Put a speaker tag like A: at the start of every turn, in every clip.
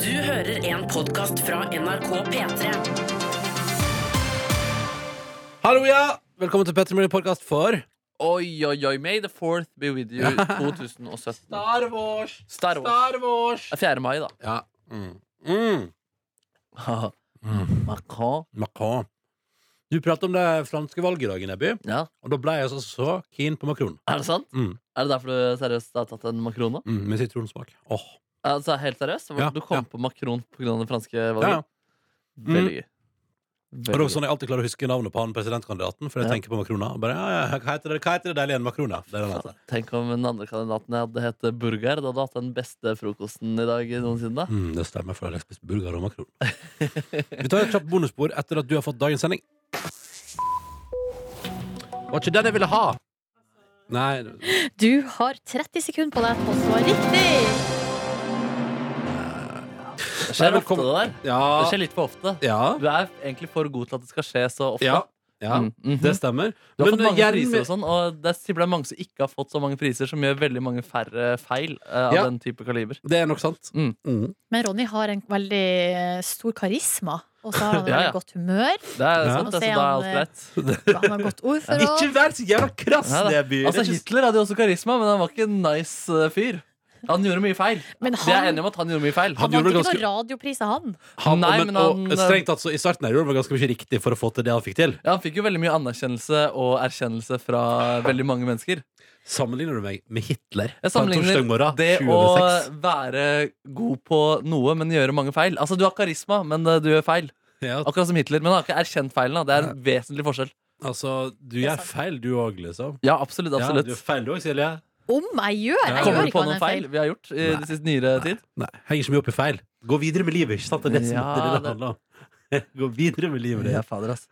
A: Du hører en podkast fra NRK P3.
B: Hallo, ja! Velkommen til Petter Møller podcast for
C: Oi, oi, oi. May the fourth be with you 2017.
B: Star Wars!
C: Star Wars.
B: Star Wars!
C: Det er 4. mai, da.
B: Ja. Mm. Mm. Mm.
C: Macron.
B: Macron. Du pratet om det franske valget i dag, Nebby,
C: Ja,
B: og da ble jeg altså så keen på makron.
C: er det sant?
B: Mm.
C: Er det derfor du seriøst har tatt en makron nå?
B: Mm, med sitronsmak. Åh,
C: Altså, helt seriøst?
B: Ja,
C: du
B: ja.
C: kom på makron pga. det franske
B: ja, ja.
C: valget? Veldig gøy.
B: Og det er
C: Veldig
B: også sånn jeg alltid klarer å huske navnet på han presidentkandidaten, for jeg
C: Ja.
B: tenker på makrona. Og bare, ja, ja, hva heter det, hva heter det deilige makrona? Det er den altså. heter.
C: gøy. Ja, Tenk om den andre kandidaten hadde hett burger. Da hadde du hatt den beste frokosten i dag noensinne. da.
B: Mm, det stemmer, for jeg har spist burger og makron. Vi tar et kjapt bonusspor etter at du har fått dagens sending. Var ikke den jeg ville ha! Nei,
D: Du har 30 sekunder på deg til å svare riktig!
C: Det skjer
B: Nei,
C: ofte,
B: velkommen-
C: det der. Det
B: ja,
C: skjer litt for ofte.
B: ja,
C: Du er egentlig for god til at det skal skje så ofte.
B: ja, ja
C: Mm, mhm.
B: det stemmer.
C: Du har
B: Men,
C: fått mange
B: Gjerm-
C: priser og sånn, og det er simpelthen mange som ikke har fått så mange priser, som gjør veldig mange færre feil eh, av
B: Ja.
C: den type kaliber.
B: Det er nok sant.
C: Mm.
D: Men Ronny har en veldig eh, stor karisma, og så har han
C: Ja, ja.
D: veldig godt humør.
C: Det er
B: Ja.
C: sant, det, så
D: Og
C: da
D: så
C: er
D: er
C: alt
D: han, eh,
C: greit.
D: Han har godt ordforråd.
B: Ikke vær så jævla krass,
C: Nei, da.
B: Neby!
C: Altså, Hitler hadde jo også karisma, men han var ikke en nice eh, fyr. Han gjorde mye feil.
D: Men
C: Vi er
D: han,
C: enige om at han gjorde mye feil.
B: Han
D: han
B: gjorde det
D: vant ikke noen radiopriser, han.
B: Han,
C: Nei,
B: og-
C: men
B: og,
C: han- eh,
B: strengt tatt, så i starten her gjorde han ganske mye riktig for å få til det han fikk til.
C: Ja, han fikk jo veldig mye anerkjennelse og erkjennelse fra veldig mange mennesker.
B: Sammenligner du meg med Hitler?
C: Jeg
B: på en
C: sammenligner
B: torsdag morgen,
C: Det
B: 20
C: å
B: over seks?
C: være god på noe, men gjøre mange feil. Altså, du har karisma, men eh, du gjør feil.
B: ja,
C: Akkurat som Hitler, men han har ikke erkjent feilen. da. Det er en vesentlig forskjell.
B: Altså, du
D: er
B: gjør
D: sant.
B: feil, du òg, liksom.
C: Ja, absolutt,
B: Ja, du
C: absolutt.
B: er feil, du òg, Silje.
D: Om jeg gjør!
B: Ja.
D: Jeg
C: Kommer
D: gjør
C: du på
D: ikke
C: noen
D: noen
C: feil vi har gjort i
B: Nei.
C: det siste nyere tid?
B: Nei, henger ikke mye opp i feil. Gå videre med livet, ikke sant? Det er det som
C: Ja,
B: det er det det
C: det-
B: handler om. Gå videre med livet ditt,
C: fader, ass.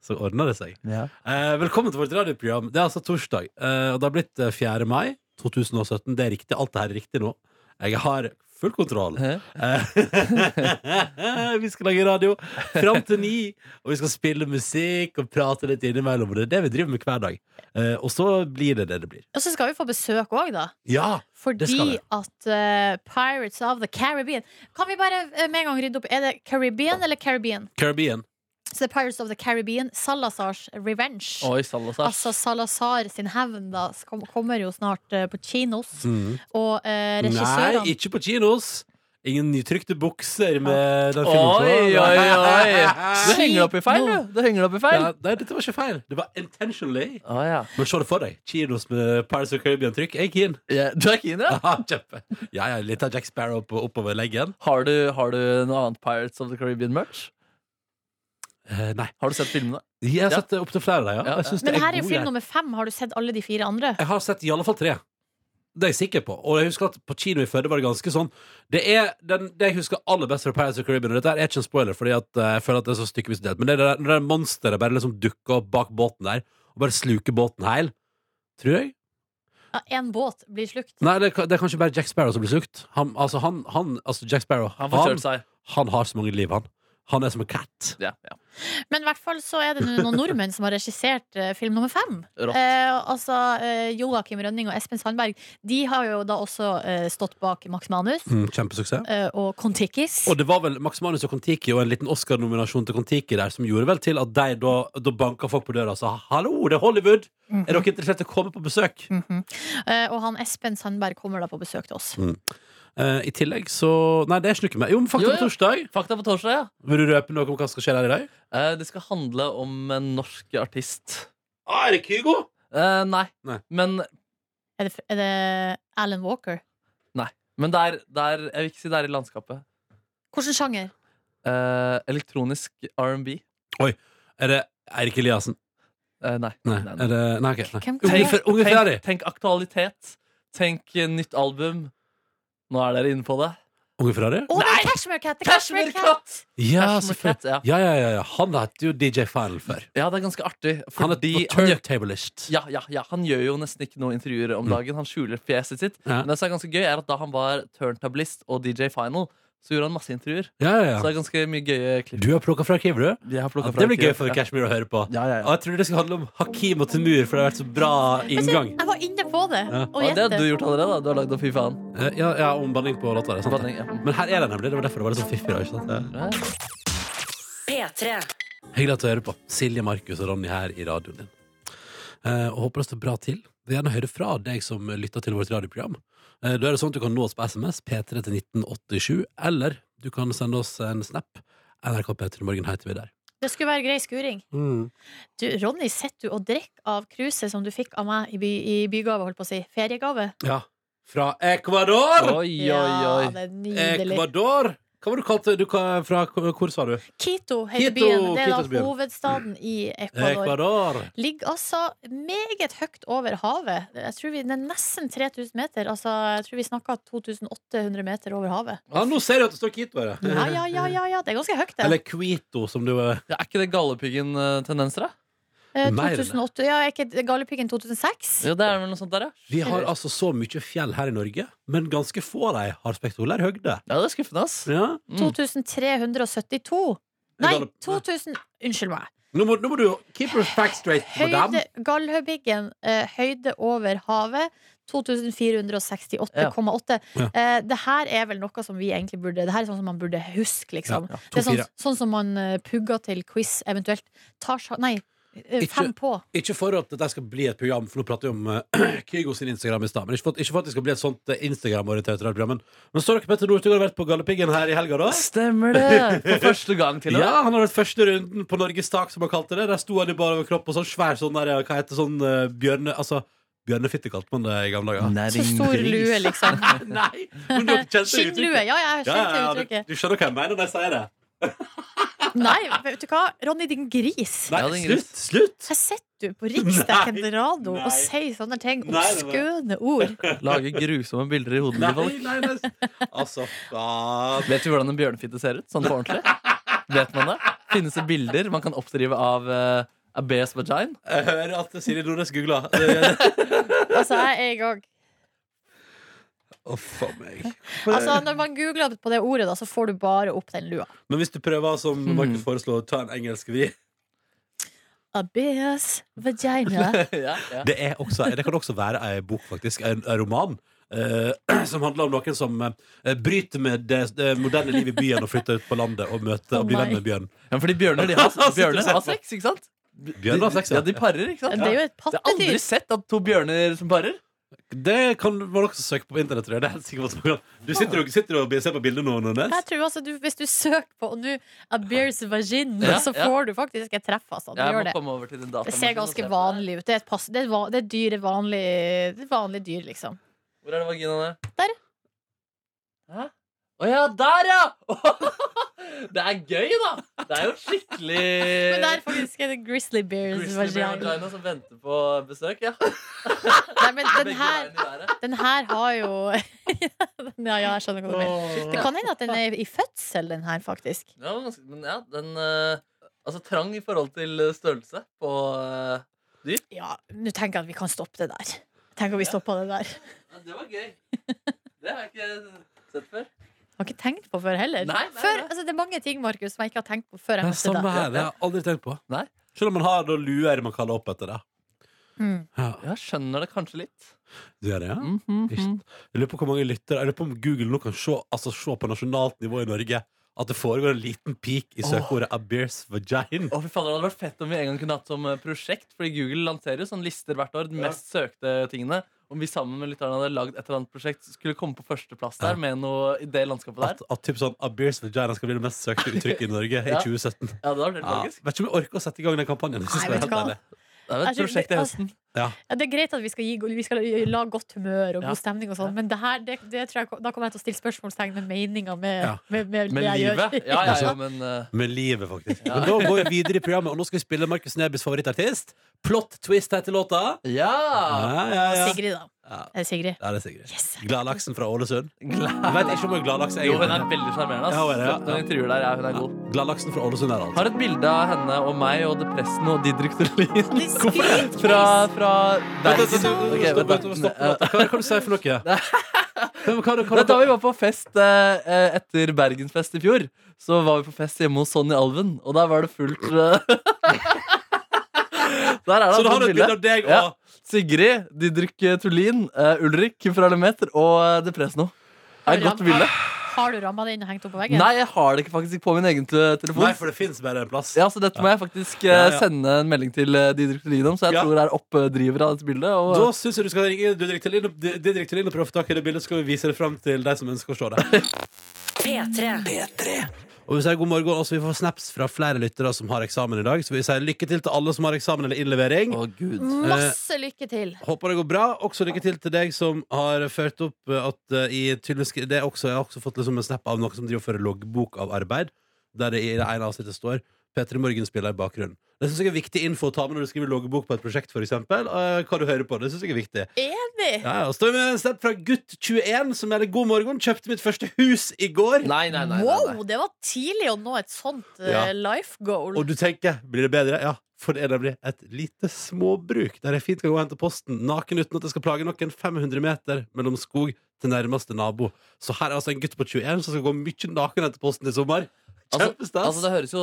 B: så ordner det seg.
C: Ja.
B: Eh, velkommen til vårt radioprogram. Det er altså torsdag, eh, og det har blitt eh, 4. mai 2017. Det er riktig. Alt det her er riktig nå. Jeg har full kontroll.
C: Hæ?
B: Eh, vi skal lage radio fram til ni, og vi skal spille musikk og prate litt innimellom. Og det er det vi driver med hver dag. Eh, og så blir det det det blir.
D: Og så skal vi få besøk òg, da.
B: Ja! skal vi.
D: Fordi at eh, Pirates of the Caribbean Kan vi bare eh, med en gang rydde opp? Er det Caribbean eller Caribbean?
B: Caribbean.
D: Så det er Pirates of the Caribbean, Salazars Revenge.
C: Oi, Salazar.
D: Altså Salazar sin hevn da skal, kommer jo snart eh, på kinos.
C: Mm.
D: Og eh, regissørene
B: Nei, ikke på kinos. Ingen nytrykte bukser med den
C: Oi, oi, oi! Du henger deg opp i feil,
D: Nå.
C: du. Du henger deg opp i feil.
B: Ja, nei, dette var ikke feil. Det var intentionally.
C: Å, ja.
B: Men se det for deg. Kinos med Paris of Caribbean-trykk. Jeg er keen.
C: Ja, Du er keen, ja?
B: Haha, Kjempe. Ja, ja, litt av Jack Sparrow på, oppover leggen.
C: Har du, har du noe annet Pirates of the Caribbean-merch?
B: Eh, nei.
C: Har du sett filmene?
B: Jeg har
C: Ja.
B: sett opptil flere av dem, ja.
C: Ja,
B: Jeg synes
D: Men
B: det
D: her er jo
B: god
D: film
B: greie.
D: nummer fem. Har du sett alle de fire andre?
B: Jeg har sett i alle fall tre. Det er jeg sikker på. Og jeg husker at på kino i Førde var det ganske sånn Det er den, det jeg husker aller best fra Pirates of the Caribbean, og dette her er ikke en spoiler, fordi at eh, jeg føler at det er så stykkevis delt, men det er det der- når det monsteret bare liksom dukker opp bak båten der, og bare sluker båten heil. Tror jeg.
D: Ja, en båt blir slukt.
B: Nei, det, er ka- det er kanskje bare Jack Sparrow som blir slukt. Han, altså, han, han, altså Jack Sparrow,
C: Han får
B: han,
C: kjørt seg.
B: han har så mange liv, han. Han er som en cat.
C: Ja, ja.
D: Men i hvert fall så er det noen nordmenn som har regissert eh, film nummer fem.
C: Rått.
D: Eh, altså eh, Joakim Rønning og Espen Sandberg De har jo da også eh, stått bak Max Manus
B: Mm, kjempesuksess.
D: eh, og Kon-Tikkis.
B: Og det var vel Max Manus og Kon-Tiki og en liten Oscar-nominasjon til Kon-Tiki der som gjorde vel til at de da, da banka folk på døra og sa 'hallo, det er Hollywood',
D: Mhm.
B: er dere interessert i å komme på besøk?
C: Mm.
D: Mhm. Eh, og han Espen Sandberg kommer da på besøk til oss.
B: Eh, I tillegg så Nei, det er ikke noe mer. Jo, men
C: Jo,
B: fakta
C: ja.
B: på torsdag.
C: Fakta på torsdag, ja.
B: Vil du røpe noe om hva som skal skje der i dag?
C: Eh, Det skal handle om en norsk artist.
B: Ah, er det Kygo?
C: Eh, Nei.
B: Nei.
C: Men
D: Er det, er det Alan Walker?
C: Men det er, det er Jeg vil ikke si det er i landskapet.
D: Hvilken sjanger?
C: Eh, elektronisk R&B.
B: Er det Eirik Eliassen?
C: Eh, nei.
B: Nei. Er det, nei, ok, nei.
D: Hvem kan
B: Unge,
D: det?
B: Fe- unge Ferrari.
C: tenk, tenk aktualitet. Tenk eh, nytt album. Nå er dere inne på det.
B: Unge Ferrari?
D: Å, det er Cashmere Cat! Det er
C: Cashmere Cat!
B: Ja,
C: Cashmere
B: selvfølgelig.
C: Cat, ja.
B: Ja, ja, ja, ja. Han heter jo DJ Final før.
C: ja, det er ganske artig.
B: Han er
C: Fordi
B: på
C: han gjør,
B: turntablist.
C: ja, ja, ja, han gjør jo nesten ikke noe intervjuer om dagen. Han skjuler fjeset sitt.
B: Mm. Ja.
C: Men det som er ganske gøy, er at da han var turntablist og DJ Final, så gjorde han masse intervjuer.
B: Ja, ja, ja.
C: Så det er ganske mye gøye klipp.
B: Du har plukka fra arkivet, du?
C: Jeg
B: Ja,
C: har plukket
B: det blir gøy
C: arkivet.
B: for Cashmere å høre på.
C: Ja, ja,
B: Og
C: ja.
B: jeg trodde det skulle handle om Hakim og Temur, for det har vært så bra inngang.
D: Jeg var inne på det.
B: Ja.
D: Og
C: Ja, det har
D: gjette.
C: du gjort allerede. da. Du har lagd Fy faen.
B: Eh, Ja, ja om banning på låta. det er sant det.
C: Banning, ja.
B: Men her er det nemlig. Det var derfor det var litt sånn fiffig. da, ikke sant?
C: Ja.
A: P3.
B: Hyggelig at du hører på. Silje, Markus og Ronny her i radioen din. Eh, og Håper det står bra til. Vil gjerne høre fra deg som lytter til vårt radioprogram. Eh, da er det sånn at Du kan nå oss på SMS P3 til 1987, eller du kan sende oss en snap. NRK P3 Morgen heter vi der.
D: Det skulle være grei skuring.
B: Mm.
D: Du, Ronny, sitter du og drikker av kruset som du fikk av meg i, by, i bygave, holdt på å si. Feriegave?
B: Ja. Fra Ecuador!
C: Oi, oi,
D: Ja,
C: oi.
D: det er nydelig.
B: Ecuador! Hva var det du kalte du? ka- Fra, hvor sa du?
D: Quito heter
B: Quito,
D: byen. Det er
B: Quito's byen.
D: da hovedstaden i Ecuador.
B: Ecuador.
D: Ligger altså meget høyt over havet. Jeg tror vi, det er nesten 3000 meter. Altså, jeg tror vi snakker 2800 meter over havet.
B: Ja, nå ser jeg at det står Quito her.
D: Ja, ja, ja, ja, ja. det er ganske høyt, det.
B: Eller Quito, som du eh,
C: Ja, er ikke det gallepiggen-tendenser, da?
D: Eh,
B: mer enn det.
D: 2008, ja, er ikke Galdhøpiggen 2006?
C: Ja, det er vel noe sånt der, ja.
B: Vi har altså så mye fjell her i Norge, men ganske få av dem har spektakulær høgde.
C: Ja, det er skuffende, ass.
B: Ja.
C: Mm.
D: 2372. Nei,
B: Galdhøp-
D: 2000 Unnskyld meg.
B: Nå, må, nå må du keep your facts straight, madam.
D: Høyde, Galdhøpiggen, eh, høyde over havet. 2468,8.
B: Ja.
D: Eh, det her er vel noe som vi egentlig burde Det her er sånn som man burde huske, liksom.
B: Ja, ja.
D: Det er sånn,
B: To-fire.
D: sånn som man eh, pugger til quiz, eventuelt. Tar sja... Nei, eh,
B: Ikke-
D: fem på.
B: Ikke for at dette skal bli et program, for nå prater vi om eh, Kygo sin Instagram i stad. Men ikke for, at- ikke for at det skal bli et sånt eh, Instagram-orientert program. Men, men så har dere Petter Northug har vært på Galdhøpiggen her i helga, da?
C: Stemmer det! For første gang, til og med.
B: Ja, han har vært første runden på Norges tak, som han kalte det. Der sto han i bare overkropp og sånn svær sånn der, hva heter sånn eh, bjørne... Altså, bjørnefitte kalte man det i gamle dager.
D: Så stor lue, liksom.
B: Nei! men dere kjente
D: Skinnlue.
B: uttrykket.
D: Ja, ja, jeg
B: Ja, ja,
D: skjønte
B: ja,
D: uttrykket.
B: du, du skjønner hva jeg mener når jeg sier det?
D: Nei, vet du hva? Ronny, din gris.
B: Nei,
C: Ja, det er en
B: slutt! slutt
D: Her sitter du på riksdekkende radio
B: nei.
D: og sier sånne ting.
B: Nei, nei, nei.
D: Obskøne ord.
C: Lage grusomme bilder i hodet
B: Nei,
C: til folk.
B: nei, nei. Altså, faen.
C: Vet vi hvordan en bjørnefitte ser ut? Sånn på ordentlig? Vet man det? Finnes det bilder man kan oppdrive av eh, a bear's vagina?
B: Jeg hører at Silje Nordnes googler. Å,
D: Altså, jeg er i gang.
B: faen meg.
D: Altså, når man googler på det ordet, da, så får du bare opp den lua.
B: Men hvis du prøver, som
C: Hmm.
B: Markus foreslår, å ta en engelsk vri
D: Abeas vagina.
C: ja, ja.
B: Det, er også, det kan også være ei bok, faktisk. En, en roman. eh, som handler om noen som eh, bryter med det, det moderne livet i byen og flytter ut på landet og møter og blir venn med bjørn.
C: ja, fordi bjørner de har, bjørner har sex, ikke sant?
B: Bjørn har sex, ja.
C: ja. De parer, ikke sant?
D: Det er jo et
C: Jeg har aldri
D: pattedyr.
C: sett at to bjørner som parer.
B: Det kan man også søke på internett, tror jeg. Det er jeg sikker på at man kan. Du sitter og, sitter og ser på bildet nå, Nordnes.
D: Jeg tror altså, du, Hvis du søker på og nå Abeas vagina,
C: Ja,
D: så
C: ja.
D: får du faktisk et treff. Altså. Du
C: Jeg
D: gjør
C: må
D: det.
C: komme over til din datamaskin
D: det ser
C: og se
D: ganske
C: på det.
D: vanlig ut. Det er et, pass, det er et, van, det er et dyr, et vanlig, det er et vanlig dyr, liksom.
C: Hvor er det vaginaen er?
D: Der.
C: Hæ? Å ja, der, ja! Det er gøy, da! Det er jo skikkelig
D: Men det er faktisk en grizzly bears
C: Grizzly bear
D: vagina.
C: vagina som venter på besøk, ja.
D: Nei, men den
C: Begge
D: her
C: veiene i været.
D: Den her har jo Ja, ja, jeg skjønner hva du mener. Det kan hende at den er i fødsel, den her, faktisk.
C: Ja, men ganske- men ja, den eh, Altså trang i forhold til eh, størrelse på eh,
D: Ja, nå tenker jeg at vi kan stoppe det der. Tenk om vi stoppa det der.
C: ja, Det var gøy. Det har jeg ikke sett før.
D: Har ikke tenkt på før heller.
C: Nei, nei, nei.
D: Før, altså, det er mange ting Markus, som jeg ikke har tenkt på før
B: Det
D: jeg
B: er
D: møtte
B: samme
D: deg.
B: her, det har jeg aldri tenkt på.
C: Nei.
B: Selv om man har da luer man kaller opp etter det.
D: Mm.
B: Ja,
C: Jeg skjønner det kanskje litt.
B: du gjør det, ja?
C: Mhm,
B: Ikke sant? Jeg lurer på hvor mange lyttere Jeg lurer på om Google nå kan se, altså, se på nasjonalt nivå i Norge at det foregår en liten peak i søkeordet A beer's vagina.
C: Å, fy faen, Det hadde vært fett om vi en gang kunne hatt som eh, prosjekt. Fordi Google lanserer jo sånne lister hvert år. De mest søkte tingene Om vi sammen med lytterne hadde lagd et eller annet prosjekt, skulle komme på førsteplass der
B: Ja.
C: med noe i det landskapet der.
B: At, at typ sånn A beer's vagina skal bli det mest søkte uttrykket i Norge i
C: Ja.
B: 2017.
C: Ja, det var helt
B: Ja.
C: logisk.
B: Vet ikke om jeg orker å sette i gang den kampanjen. Jeg synes
D: Nei,
B: det er
D: vet
B: helt
D: du hva?
B: ærlig.
C: Det er jo et
D: Jeg tror-
C: prosjekt i høsten.
D: altså,
B: Ja.
D: Ja, det er greit at vi skal, gi, vi skal la godt humør og
C: Ja.
D: god stemning, og sånn men det her, det, det tror jeg, da kommer jeg til å stille spørsmålstegn ved meninga med,
B: Ja.
D: med, med,
C: Men
D: det jeg
C: livet
D: gjør.
C: Ja, ja, ja, men eh,
B: Med livet, faktisk.
C: Ja.
B: Men da går vi videre i programmet, og nå skal vi spille Markus Nebys favorittartist. Plot twist heter låta.
C: Ja!
B: Ja, ja, ja.
D: Sigrid, da.
B: Ja,
D: Er det Sigrid?
B: ja det er Sigrid.
D: Yes.
B: Gladlaksen fra Ålesund.
C: Glad.
B: Jeg vet ikke om hun er gladlaks.
C: Jo, hun
B: egentlig.
C: er veldig sjarmerende.
B: Ja, hun er det, ja.
C: ass. Noen intervjuer der, ja, hun er god.
B: Gladlaksen fra Ålesund er altså. alt.
C: Har et bilde av henne og meg og depressen og Didrik Thulin
D: Det er Sigrid
C: fra, fra
B: Vent,
C: Bergen.
B: vent, vent, vent,
C: Ok,
B: stopp,
C: vent,
B: vent,
C: da.
B: stopp, stopp. Hva hva kan du si for noe? Men hva- hva-
C: Nei,
B: hva-
C: Da vi var på fest eh, eh, etter Bergensfest i fjor, så var vi på fest hjemme hos Sonny Alven, og der var det fullt eh. Der er det
B: Så da har
C: altså
B: du et bilde av deg
C: Ja.
B: og
C: Sigrid, Didrik Tullin, eh, Ulrik fra Lemeter og eh, Depresno. Det er et godt bilde.
D: Har du ramma det inn og hengt opp på veggen?
C: Nei, jeg har det ikke faktisk på min egen te- telefon.
B: Nei, for det fins bare en plass.
C: Ja, så dette må jeg faktisk eh,
B: Ja, ja.
C: sende en melding til eh, Didrik Tullin om, så jeg
B: Ja.
C: tror jeg er oppdriver av dette bildet. Og,
B: Da syns jeg du skal ringe Didrik Tellin og- Didrik Tellin og prøve å få tak i det bildet, så skal vi vise det fram til de som ønsker å se det.
A: P3.
B: Og vi sier god morgen også. Vi får snaps fra flere lyttere som har eksamen i dag. Så vi sier lykke til til alle som har eksamen eller innlevering.
C: Å, Gud.
D: Masse lykke til!
B: Håper det går bra. Også lykke til til deg som har ført opp eh, at eh, i tydeligvis det er også, Jeg har også fått liksom en snap av noen som driver og fører loggbok av arbeid, der det i det ene avsnittet står P3 Morgen spiller i bakgrunnen. Det syns jeg er viktig info å ta med når du skriver loggbok på et prosjekt, f.eks. Hva du hører på. Det synes jeg er viktig.
C: Eh.
D: Enig!
B: Ja, ja, og så står vi med en snap fra gutt21 som melder god morgen. Kjøpte mitt første hus i går.
C: Nei, nei, nei. nei, nei.
D: Wow, det var tidlig å nå et sånt eh,
B: Ja.
D: life goal.
B: Og du tenker, blir det bedre? Ja, for det er nemlig et lite småbruk der jeg fint kan gå og hente posten naken uten at jeg skal plage noen 500 meter mellom skog til nærmeste nabo. Så her er altså en gutt på 21 som skal gå mye naken og hente posten i sommer.
C: Altså,
B: Kjempestas!
C: altså, det, høres jo,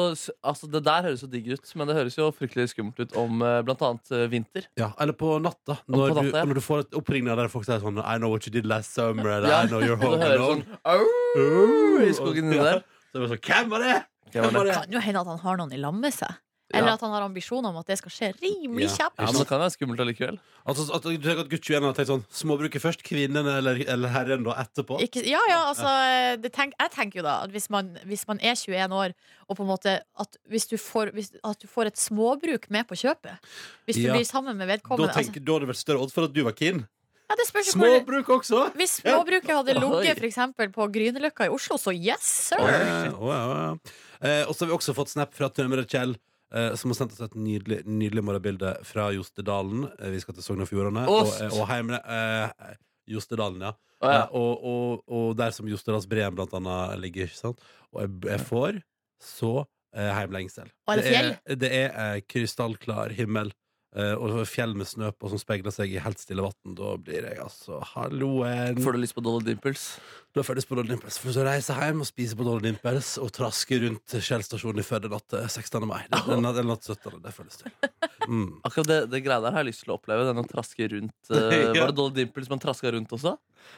C: altså, det der høres jo digg ut, men det høres jo fryktelig skummelt ut om eh, blant annet eh, vinter.
B: ja, eller på natta,
C: på
B: når,
C: natta, ja.
B: Du, når du får et oppringning der folk sier sånn I know what you did last summer, eller
C: Ja,
B: I know you're
C: Og
B: home
C: det høres
B: alone.
C: sånn au, i skogen inni der.
B: Så jeg bare sånn, Hvem var det?!
C: Det var
B: Hvem var
C: det.
B: det?
D: kan jo hende at han har noen i lag med seg.
C: Ja.
D: Eller at han har ambisjoner om at det skal skje rimelig
B: Ja.
D: kjapt.
C: Ja, men det kan være skummelt allikevel.
B: Altså, at, du tenker at gutt 21 har tenkt sånn Småbruket først, kvinnen eller, eller herren da etterpå.
D: Ikke, ja, ja, altså det tenk, Jeg tenker jo da at hvis man, hvis man er 21 år, og på en måte at hvis du får, hvis, at du får et småbruk med på kjøpet Hvis du
B: Ja.
D: blir sammen med
B: da,
D: vedkommende
B: tenker,
D: altså,
B: da hadde det vært større odds for at du var keen.
D: ja, det spørs jo hvor,
B: Småbruk også!
D: Hvis småbruket hadde
C: Oi.
D: ligget for eksempel på Grünerløkka i Oslo, så yes,
B: Å,
D: sir!
B: ja, Eh, å, ja, å, ja. Eh, og så har vi også fått snap fra tømrer Kjell, eh, som har sendt oss et nydelig, nydelig morgenbilde fra Jostedalen. Eh, vi skal til Sogn og Fjordane. Og,
C: Åst.
B: og heimene, eh, Jostedalen, ja.
C: Å, ja.
B: Eh, og, og, og der som Jostedalsbreen blant annet ligger. Ikke sant? Og jeg, jeg får så eh, heimlengsel.
D: Og er det fjell?
B: er, det er eh, krystallklar himmel. eh, og fjell med snø på som speiler seg i helt stille vann. Da blir jeg altså halloen.
C: Får du lyst på Dolly Dimples?
B: Da føles på Dolly Dimples. For så reiser jeg hjem og spiser på Dolly Dimples og trasker rundt Kjell stasjon i Førde natt til 16. mai. Det- Den natt, den natt 17. Det føles det. Mm.
C: Akkurat det, det greia der har jeg lyst til å oppleve. Den å traske rundt eh,
B: Ja.
C: Var det Dolly Dimples man traska rundt også?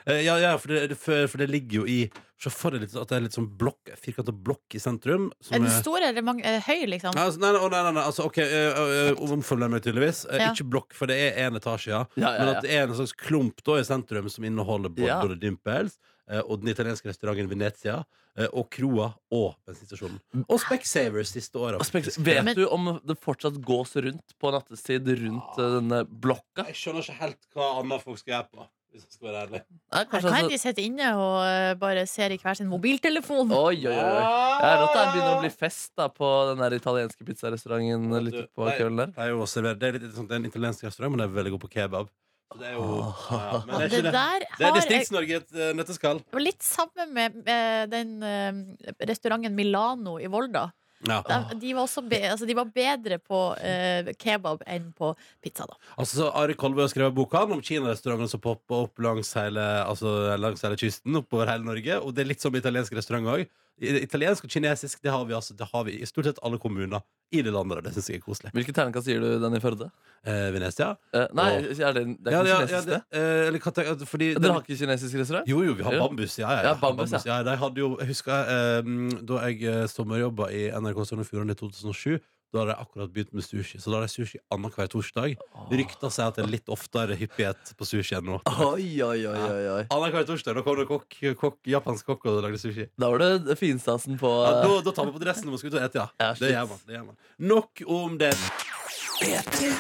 B: Eh, Ja, ja for, det, det- for, for det ligger jo i Se for deg litt at det er litt sånn blokk, firkanta blokk i sentrum. Som
D: Er den
B: er-
D: stor eller mang- eh, høy, liksom?
B: Nei, altså, nei, nei, nei, nei, nei, altså, ok, eh, eh, omfølger meg tydeligvis. Eh,
D: Ja.
B: Ikke blokk, for det er én etasje, ja.
C: Ja, ja,
B: Men
C: ja.
B: at det er en slags klump da i sentrum som inneholder både
C: Ja.
B: Dolly Dimples eh, og den italienske restauranten Venezia eh, og kroa og bensinstasjonen. Og Specsavers siste åra.
C: Mm. Og spek-
B: faktisk.
C: Vet
D: Men-
C: du om det fortsatt gås rundt på nattestid rundt eh, denne blokka?
B: Jeg skjønner ikke helt hva annet folk skal gjøre på. Hvis jeg skal være ærlig
C: Nei,
D: Her
C: kanskje
D: kan
C: altså-
D: de sitte inne og eh, bare ser i hver sin mobiltelefon.
C: Oi, oi, oi. Ja, Rått det begynner å bli fest da på den der italienske pizzarestauranten litt
B: Du,
C: på
B: nei.
C: kvelden der.
B: Det er jo også servert- det er litt sånn, det er en italiensk restaurant, men det er veldig god på kebab. Så det er jo ja, ja, men det er
D: det
B: ikke det. Det
D: der
B: er
D: har jeg
B: Distrikts-Norge i et eh, nøtteskall.
D: Det var litt samme med, med den eh, restauranten Milano i Volda.
B: Ja.
D: De, de, var også be, altså de var bedre på eh, kebab enn på pizza, da.
B: Altså, så Ari Kolbø har skrevet boka han om kinarestauranter som popper opp langs hele, altså, langs hele kysten, oppover hele Norge. Og det er litt som italiensk restaurant òg. Italiensk og kinesisk det har, vi, altså, det har vi i stort sett alle kommuner i det landet. og Det syns jeg er koselig.
C: Hvilket terningkast gir du den i Førde?
B: Eh, Venezia?
C: Eh, nei,
B: Åh.
C: er det, det er ikke
B: Ja, ja, ja,
C: kinesisk,
B: det, eh, eller, hva tenker- fordi,
C: det? Dere har ikke kinesisk restaurant?
B: Jo, jo, vi har
C: Ja.
B: bambus. Ja, ja, ja.
C: Ja, bambus,
B: ja. de hadde jo, jeg husker eh, mm, da jeg eh, sommerjobba i NRK Sogn og Fjordane i 2007. Da hadde jeg akkurat begynt med sushi, så da har de sushi annenhver torsdag. Rykta sier at det er litt oftere hyppighet på sushi enn nå.
C: Oi, oi, oi, oi, oi.
B: Annenhver torsdag da kom det kokk, kokk, japansk kokk og lagde sushi.
C: Da var det finstasen på
B: Ja,
C: eh,
B: da, da tar man på dressen når man skal ut og ete, ja.
C: Ja,
B: det,
C: shit.
B: gjør man, det gjør man. Nok om det.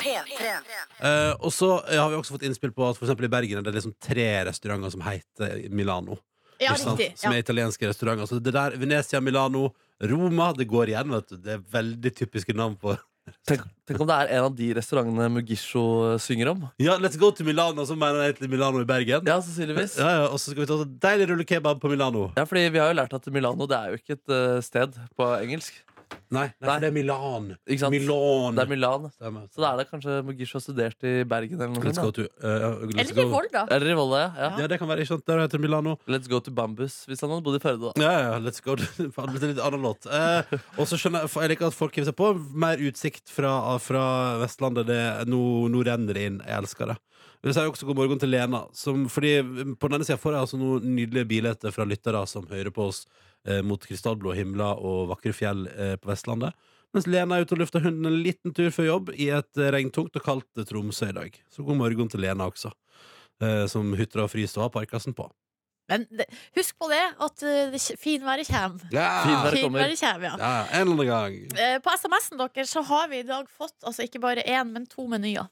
B: Eh, og så eh, har vi også fått innspill på at for eksempel i Bergen er det liksom tre restauranter som heter Milano.
D: Ja,
B: ikke sant?
D: riktig.
B: Som
D: Ja.
B: er italienske restauranter. Så det der, Venezia, Milano, Roma, det går igjen. vet du Det er veldig typiske navn på
C: tenk, tenk om det er en av de restaurantene Mugisho eh, synger om?
B: Ja, let's go to Milano, så mener jeg til Milano i Bergen.
C: Ja, sannsynligvis.
B: Ja, ja, og så skal vi ta så deilig rullekebab på Milano.
C: Ja, fordi vi har jo lært at Milano det er jo ikke et eh, sted på engelsk.
B: Nei, nei,
C: Nei.
B: for det er Milan.
C: Ikke sant?
B: Milan.
C: Det er Milan.
B: Stemmer.
C: Så da er det kanskje Mugisha har studert i Bergen eller noe
B: Let's go
C: sånt.
B: to uh, let's
D: Eller i
B: go-
D: Volda.
C: da. Eller i Volda, ja. ja.
B: Ja, det kan være. ikke sant? Der heter det Milano.
C: Let's go to Bambus, hvis han hadde bodd i Førde, da.
B: Ja, ja, let's go. Faen, det blir litt annen låt. Eh, og så skjønner jeg, for jeg liker at folk hiver seg på. Mer utsikt fra, fra Vestlandet. Det, nå, nå renner det inn. Jeg elsker det. Vi sier også god morgen til Lena. Som, fordi eh, På denne sida får jeg altså noen nydelige bilder fra lyttere som hører på oss eh, mot krystallblå himler og vakre fjell eh, på Vestlandet. Mens Lena er ute og lufter hunden en liten tur før jobb i et eh, regntungt og kaldt eh, Tromsø i dag. Så god morgen til Lena også, eh, som hytter og fryser og har parkasen på.
D: Men det, husk på det, at eh, det kj- finværet kommer.
C: Finvær kommer.
D: Finværet kommer, ja.
B: Ja, en eller annen gang.
D: Eh, På SMS-en deres så har vi i dag fått altså ikke bare én, men to menyer.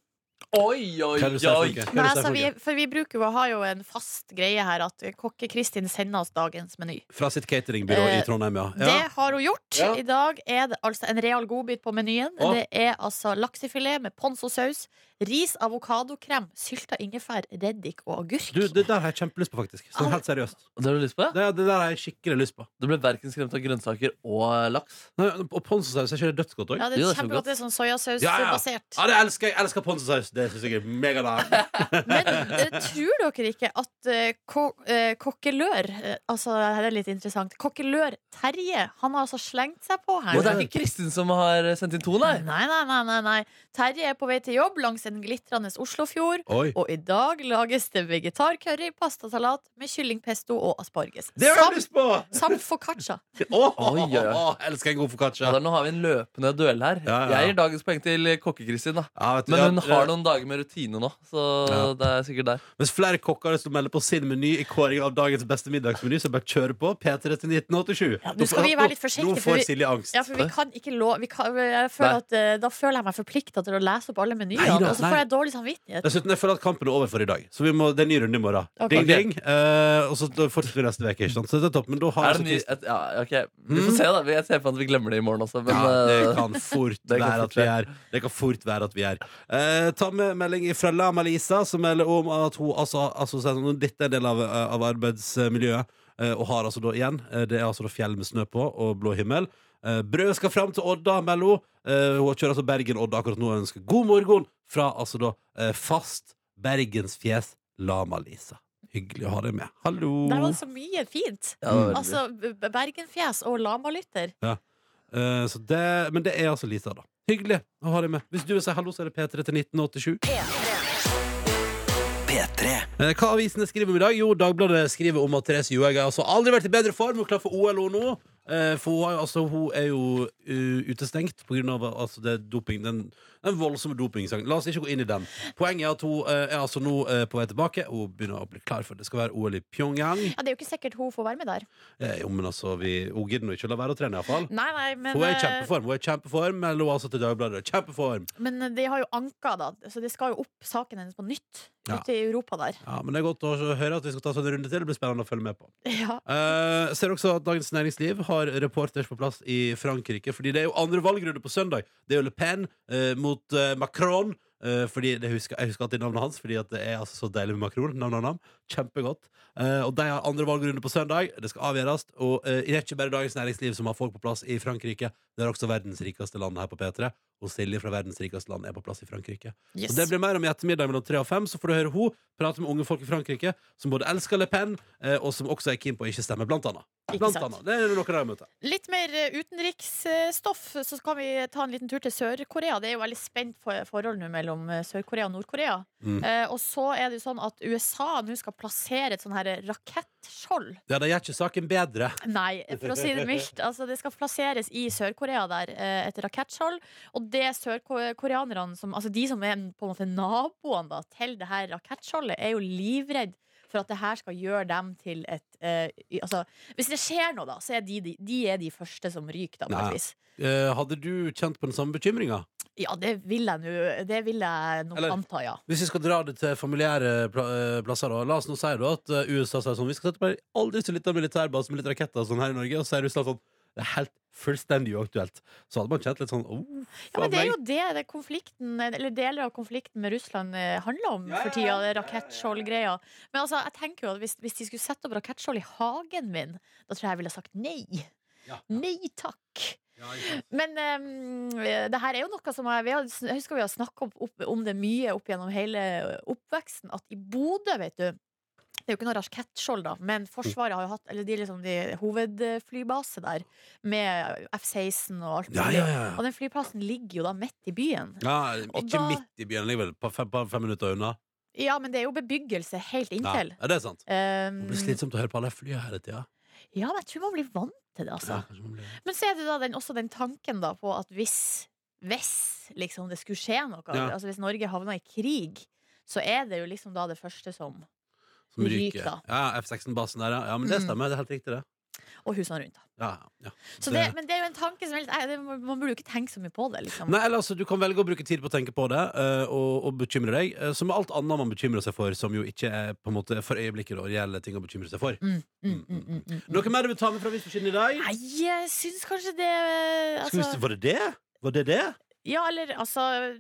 C: Oi, oi,
B: Hva er det du sier for noe? Hva er
D: Nei,
B: det du sier
D: altså,
B: for
D: vi,
B: noe?
D: for vi bruker jo, har jo en fast greie her at kokke-Kristin sender oss dagens meny.
B: Fra sitt cateringbyrå i
D: Eh,
B: Trondheim, ja.
D: Det
B: ja.
D: har hun gjort.
B: Ja.
D: I dag er det altså en real godbit på menyen.
B: Å.
D: Det er altså laksefilet med ponzosaus, ris, avokadokrem, sylta ingefær, reddik og agurk.
B: Du, det der har jeg kjempelyst på, faktisk. Sånn helt seriøst.
C: Det har du lyst på? ja?
B: Det, det der har jeg skikkelig lyst på.
C: Du ble verken skremt av grønnsaker og laks.
B: Nei, Og ponzosaus, er ikke det dødsgodt òg?
D: ja, det
C: Jo,
D: er
C: det er så godt.
D: kjempegodt. Det er sånn
B: Ja, ja.
D: soyasausbasert.
B: Ja, det elsker jeg! Jeg elsker ponzosaus. Det syns jeg er megadeilig.
D: Men eh, tror dere ikke at eh, ko eh, kokkelør eh, Altså, her er litt interessant. Kokkelør Terje, han har altså slengt seg på her.
C: Og det er ikke Kristin som har eh, sendt inn to, nei.
D: Nei, nei, nei, nei, nei. Terje er på vei til jobb langs en glitrende Oslofjord.
B: Oi.
D: Og i dag lages det vegetarcurry, pastasalat med kyllingpesto og asparges.
B: Det har
D: Samt-
B: jeg lyst på!
D: Samt foccaccia.
B: Åh,
C: Oi, oi, oi.
B: åh, elsker en god
C: Ja,
B: foccaccia.
C: da, nå har vi en løpende duell her.
B: Ja, ja.
C: Jeg gir dagens poeng til kokke-Kristin. da
B: Ja, vet du,
C: Men
B: ja,
C: hun har noen dager med rutine nå, så
B: Ja.
C: det er sikkert der.
B: Mens flere kokker som melder på sin meny i kåringen av dagens beste middagsmeny, så bare kjører på. P3 til 1987.
D: nå skal vi være litt forsiktige,
B: Nå
D: for
B: får
D: vi-
B: Silje angst.
D: Ja, for vi kan ikke lov vi kan, jeg føler
C: Nei.
D: at, eh, Da føler jeg meg forplikta til å lese opp alle menyene,
B: Nei da,
D: og så
B: nei.
D: får jeg dårlig samvittighet.
B: Dessuten, jeg føler at kampen er over for i dag. Så vi må, det er en ny runde i morgen.
D: Ok.
B: Ding, ding. Eh, og så fortsetter vi neste uke. Ikke sant? Så det er topp. Men da har
C: Er
B: altså
C: det ny,
B: Kristin- Mm.
C: et, ja, ok, Vi får se, da. Jeg ser for meg at vi glemmer det i morgen også. Men
B: ja, det
C: eh,
B: kan fort
C: det kan
B: være
C: fort
B: at vi er Det kan fort være at vi er Eh, Ta med melding fra Lama Lisa, som melder om at hun altså, altså, sier sånn, Dette er en del av, av arbeidsmiljøet, eh, og har altså da igjen eh, Det er altså da fjell med snø på og blå himmel. Eh, Brød skal fram til Odda, melder hun. Eh, Hun kjører altså Bergen-Odda akkurat nå og ønsker god morgen fra altså da eh, fast bergensfjes Lama-Lisa. Hyggelig å ha deg med. Hallo.
D: Der var det så mye fint.
C: ja, det var veldig bra.
D: Altså, B- B- Bergenfjes og lamalytter.
B: Eh, så det, men det er altså Lisa, da. Hyggelig å ha deg med. Hvis du vil si hallo, så er det P3 til 1987. Eh, Hva avisene skriver om i dag? Jo, Dagbladet skriver om at Therese Johaug har altså aldri vært i bedre form. Hun er klar for OL hun nå. Eh, For hun, har jo- altså, hun er jo uh, utestengt pga. Altså, det doping, den, den voldsomme dopingsangen. La oss ikke gå inn i den. Poenget er at hun eh, er altså nå eh, på vei tilbake og begynner å bli klar for det. Det skal være OL i Pyongyang.
D: Ja, det er jo ikke sikkert hun får være med der.
B: Eh, Jo, men altså, vi, hun gidder nå ikke å la være å trene, iallfall.
D: Nei, nei, men,
B: Hun er i
D: eh,
B: kjempeform. Hun er i kjempeform Eller hun er altså til Dagbladet. Kjempeform!
D: men de har jo anka, da. Så det skal jo opp saken hennes på nytt
B: Ja.
D: ute i Europa der.
B: Ja, men det er godt å høre at vi skal ta oss en runde til. Det blir spennende å følge med på.
D: Ja.
B: Eh, ser også at Dagens Næringsliv har reporters på plass i Frankrike. Fordi det er jo andre valgrunde på søndag. Det er jo Le Pen eh, mot eh, Macron. eh, fordi det husker, Jeg husker alltid navnet hans, Fordi at det er altså så deilig med Macron. Nam, nam, nam. Kjempegodt. Eh, og de har andre valgrunde på søndag. Det skal avgjøres. Og eh, det er ikke bare Dagens Næringsliv som har folk på plass i Frankrike. Det er også verdens rikeste land her på P3. Og Silje fra verdens rikeste land er på plass i Frankrike.
D: Yes.
B: Og det blir mer om i ettermiddag mellom tre og fem. Så får du høre hun prate med unge folk i Frankrike som både elsker Le Pen, eh, og som også er keen på å ikke stemme, blant annet.
D: Ikke
B: Blant
D: sant.
B: annet. Det er noe av det
D: Litt mer eh, utenriksstoff, eh, så kan vi ta en liten tur til Sør-Korea. Det er jo veldig spent for- forhold nå mellom eh, Sør-Korea og Nord-Korea.
B: Mm.
D: Eh, og så er det jo sånn at USA nå skal plassere et sånn her rakettskjold.
B: Ja, det gjør ikke saken bedre.
D: Nei, for å si det mildt. Altså, det skal plasseres i Sør-Korea der, eh, et rakettskjold. Og det sørkoreanerne som Altså de som er på en måte naboene da, til det her rakettskjoldet, er jo livredd for at det her skal gjøre dem til et eh, i- Altså, hvis det skjer noe, da, så er de de, de, er de første som ryker, da, på
B: Nei.
D: et vis.
B: Eh, hadde du kjent på den samme bekymringa?
D: Ja, det vil jeg nå Det vil jeg nok
B: Eller-
D: anta, ja.
B: Hvis vi skal dra det til familiære pla eh, plasser, da. La oss nå si da at eh, USA sier sånn Vi skal sette på en aldri så liten militærbase med litt raketter og sånn her i Norge, og så er Russland sånn det er helt fullstendig uaktuelt. Så hadde man kjent litt sånn oh,
D: ja. Men det er
B: faen
D: jo det, det konflikten, eller deler av konflikten med Russland eh, handler om for tida. det Rakettskjold-greia. Men altså, jeg tenker jo at hvis, hvis de skulle sette opp rakettskjold i hagen min, da tror jeg jeg ville sagt nei.
B: Ja.
D: Nei takk.
B: meg.
D: Men eh, det her er jo noe som jeg, vi har, jeg husker vi har snakka om, opp- om det mye opp gjennom hele oppveksten. At i Bodø, vet du Det er jo ikke noe rakettskjold, da, men Forsvaret har jo hatt Eller de, liksom, de hovedflybase der, med F-16 og alt
B: Ja, ja, ja.
D: Og den flyplassen ligger jo da midt i byen.
B: Ja,
D: Og
B: ikke
D: da-
B: midt i byen, ligger vel på fem, på fem minutter unna.
D: Ja, men det er jo bebyggelse helt
B: Ja,
D: inntil.
B: ja, det er sant.
D: Um,
B: Det blir slitsomt å høre på alle flyene hele tida.
D: ja, men jeg tror man blir vant til det, altså.
B: Ja, kanskje man blir-
D: Men så er det da den, også den tanken da på at hvis, hvis liksom det skulle skje noe,
B: Ja.
D: altså hvis Norge havna i krig, så er det jo liksom da det første som
B: Som
D: Ryk,
B: ryker.
D: da.
B: Ja, F-16-basen der, ja. ja. Men det
D: Mm.
B: stemmer, det er helt riktig, det.
D: Og husene rundt, da.
B: Ja, ja.
D: Så det, men det er jo en tanke som er litt, nei, det, Man burde jo ikke tenke så mye på det, liksom.
B: Nei, eller altså, Du kan velge å bruke tid på å tenke på det eh, og, og bekymre deg, eh, som med alt annet man bekymrer seg for, som jo ikke er på en måte for øyeblikket da, reelle ting å bekymre seg for.
D: Mm, mm, mm, mm, mm.
B: Noe mer du vil ta med fra avisforsiden i dag?
D: Nei, jeg syns kanskje det
B: Skal vi
D: altså,
B: se, var det det? Var det det?
D: Ja, eller altså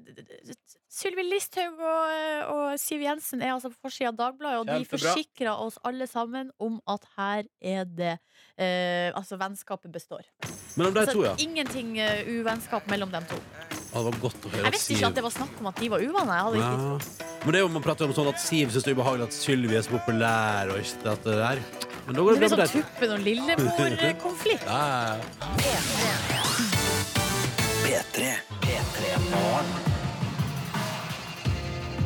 D: Sylvi Listhaug og, og Siv Jensen er altså på forsida av Dagbladet, og de
C: Kjempebra.
D: forsikrer oss alle sammen om at her er det eh, Altså, vennskapet består.
B: Men om de
D: Altså,
B: to, ja.
D: Ingenting eh, uvennskap mellom dem to.
B: Å, det var godt å høre
D: Jeg visste ikke at det var snakk om at de var uvenner. Jeg hadde ikke
B: ja. Men det er jo man prater om sånn at Siv syns det er ubehagelig at Sylvi er så populær, og ikke at det der. Men da
D: Det
B: går det
D: blir
B: bra med
D: sånn
B: deg.
D: Tuppen og Lillemor-konflikt.
B: Ja, ja, ja.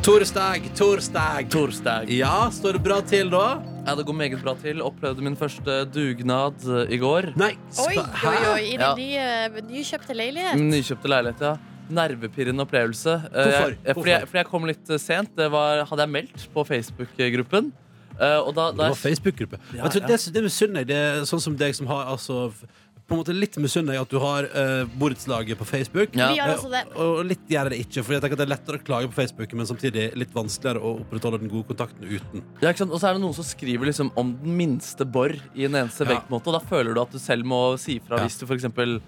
B: Torsdag, torsdag, torsdag. Ja, står det bra til da?
C: Ja, det går meget bra til. Opplevde min første dugnad eh, i går.
B: Nei,
D: Oi,
B: sp-
D: oi, oi, i
C: Ja.
D: den nye, nykjøpte leilighet.
C: Min Nykjøpte leilighet, ja. Nervepirrende opplevelse. Eh,
B: Hvorfor?
C: Jeg, fordi, jeg,
B: Hvorfor?
C: fordi jeg kom litt eh, sent. Det var, hadde jeg meldt på Facebook-gruppen. Eh, og da,
B: Det
C: da
B: var Facebook-gruppe.
C: Ja,
B: Vet du,
C: ja.
B: Det, det misunner jeg. Det er sånn som deg som har altså, f- På en måte litt misunner jeg at du har uh, borettslaget på Facebook.
C: Mm, Ja.
D: Vi har altså det.
B: Og litt gjør jeg det ikke, for jeg tenker at det er lettere å klage på Facebook, men samtidig litt vanskeligere å opprettholde den gode kontakten uten.
C: Ja, ikke sant? Og så er det noen som skriver liksom om den minste borr i en eneste
B: Ja.
C: vektmåte, og da føler du at du selv må si fra
B: Ja.
C: hvis du for eksempel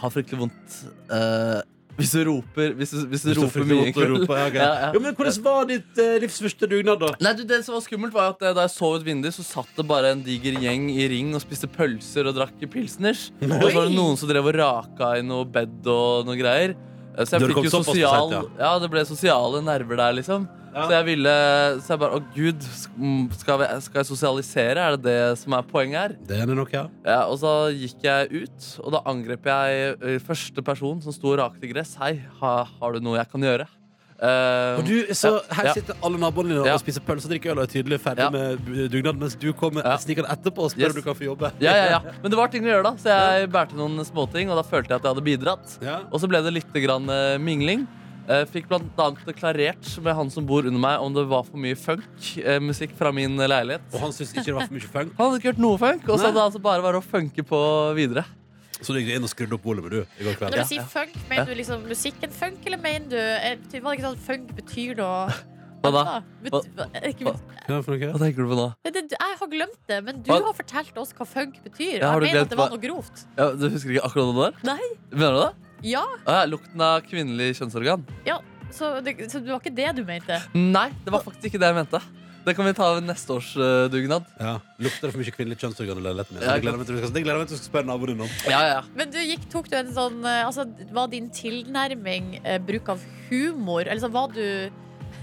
C: har fryktelig vondt eh, Hvis du roper Hvis du, hvis du
B: Hvis du
C: roper
B: får
C: mye
B: lov
C: en
B: til å
C: kveld.
B: rope, ja, ok.
C: Ja, ja.
B: Jo, men hvordan var ditt eh, livs første dugnad, da?
C: Nei, du, det som var skummelt var at eh, Da jeg så ut vinduet, så satt det bare en diger gjeng i ring og spiste pølser og drakk pilsners. Og så var det noen som drev og raka i noe bed og noe greier. Eh, Så
B: Det kom
C: jeg fikk jo
B: såpass
C: sosial
B: sent,
C: Ja, det ble sosiale nerver der, liksom.
B: Ja.
C: Så jeg ville Så jeg bare Å, gud, sk- mm, skal jeg, skal jeg sosialisere? Er det det som er poenget her?
B: Det er nok, ja.
C: Ja, og så gikk jeg ut, og da angrep jeg eh, første person som sto og rakte gress. Hei, ha, har du noe jeg kan gjøre? Eh,
B: Og du, så Her
C: ja.
B: sitter alle naboene dine
C: Ja.
B: og spiser pølse og drikker øl og er tydelig ferdig
C: Ja.
B: med bu- dugnad, mens du kommer
C: Ja.
B: snikende etterpå og spør
C: Yes.
B: om du kan få jobbe.
C: ja, ja, ja. Men det var ting å gjøre, da, så jeg bærte noen småting, og da følte jeg at jeg hadde bidratt.
B: Ja.
C: Og så ble det litt grann, eh, mingling. Eh, fikk bl.a. deklarert med han som bor under meg, om det var for mye funk-musikk fra min leilighet.
B: Og han syns ikke det var for mye funk,
C: Han hadde ikke hørt noe funk, og så
B: Nei.
C: hadde det altså bare vært å funke på videre.
B: så du gikk inn og skrudde opp volumet, du, i går kveld.
D: Når
C: Ja,
D: du sier
C: ja.
D: funk, mener du liksom musikken funk, eller mener du eh, ty- Var det ikke sånn at funk betyr noe?
C: Hva da?
D: Bet-
C: Hva-
D: Altså, hva- er ikke-
C: hva-
B: Ja, for noe?
C: Hva tenker du på nå?
D: Men det- Jeg har glemt det, men du
C: Hva-
D: har fortalt oss hva funk betyr.
C: Ja, har
D: Og
C: du
D: jeg mener at
C: glemt
D: det
C: hva-
D: var noe grovt.
C: Ja, du husker ikke akkurat hva det var?
D: Nei.
C: Mener du det?
D: Ja,
C: Ah, ja, lukten av kvinnelig kjønnsorgan?
D: så det, så det var ikke det du mente.
C: Nei, det var faktisk ikke det jeg mente. Det kan vi ta ved neste års eh, dugnad.
B: Ja. Lukter det for mye kvinnelig kjønnsorgan i leiligheten min?
C: Ja,
B: Det gleder jeg meg til du skal- det gleder jeg meg til du skal spørre naboen din om.
C: Ja, ja, ja.
D: Men du gikk, tok du en sånn eh, altså, Var din tilnærming eh, bruk av humor? Eller så var du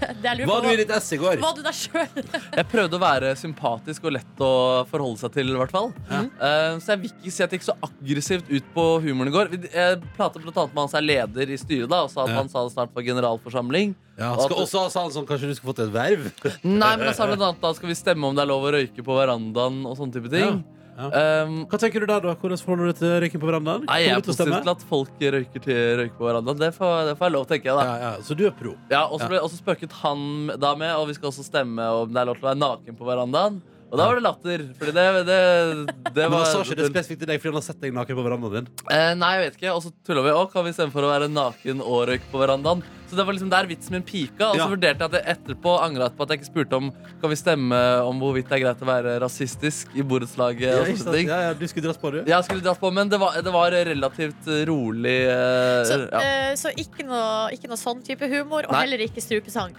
D: det jeg lurer på
B: Var du i
D: var-
B: ditt ess i går?
D: var du deg sjøl?
C: Jeg prøvde å være sympatisk og lett å forholde seg til, i hvert fall.
B: Ja.
C: Eh, så jeg vil ikke si at jeg gikk så aggressivt ut på humoren i går. Vi- Jeg pratet blant annet med han som er leder i styret, da, og sa at
B: Ja.
C: han sa det snart var generalforsamling.
B: Ja, skal også sa han sånn, kanskje du skulle fått et verv?
C: Nei, men jeg sa blant annet da skal vi stemme om det er lov å røyke på verandaen og sånne type ting.
B: Ja,
C: Um,
B: Hva tenker du der, da? Hvordan forholder du deg til røyken på verandaen?
C: Nei, jeg
B: Kommer du
C: er
B: til å
C: positiv
B: stemme?
C: til at folk røyker til røyker på verandaen. Det får, det får jeg lov, tenker jeg, da.
B: Ja, ja, så du er pro?
C: Ja, og så ble også spøket han da med, og vi skal også stemme om det er lov til å være naken på verandaen. Og da var det latter. Fordi det, det, det
B: Men
C: var
B: han sa ikke det spesifikt til deg fordi han har sett deg naken på verandaen din?
C: Eh, Nei, jeg vet ikke. Og så tulla vi. Å, kan vi stemme for å være naken og røyke på verandaen? Så det var liksom der vitsen min pika. Og så
B: Ja.
C: vurderte jeg at jeg etterpå angret på at jeg ikke spurte om Kan vi stemme om hvorvidt det er greit å være rasistisk i borettslaget. og
B: ikke
C: sånne
B: sant?
C: ting.
B: ja, ja, du skulle dratt på, du?
C: Jeg skulle dratt på, men det var, det var relativt rolig. eh,
D: Så,
C: ja.
D: eh, så ikke, noe, ikke noe sånn type humor, og
C: Nei.
D: heller ikke strupesang.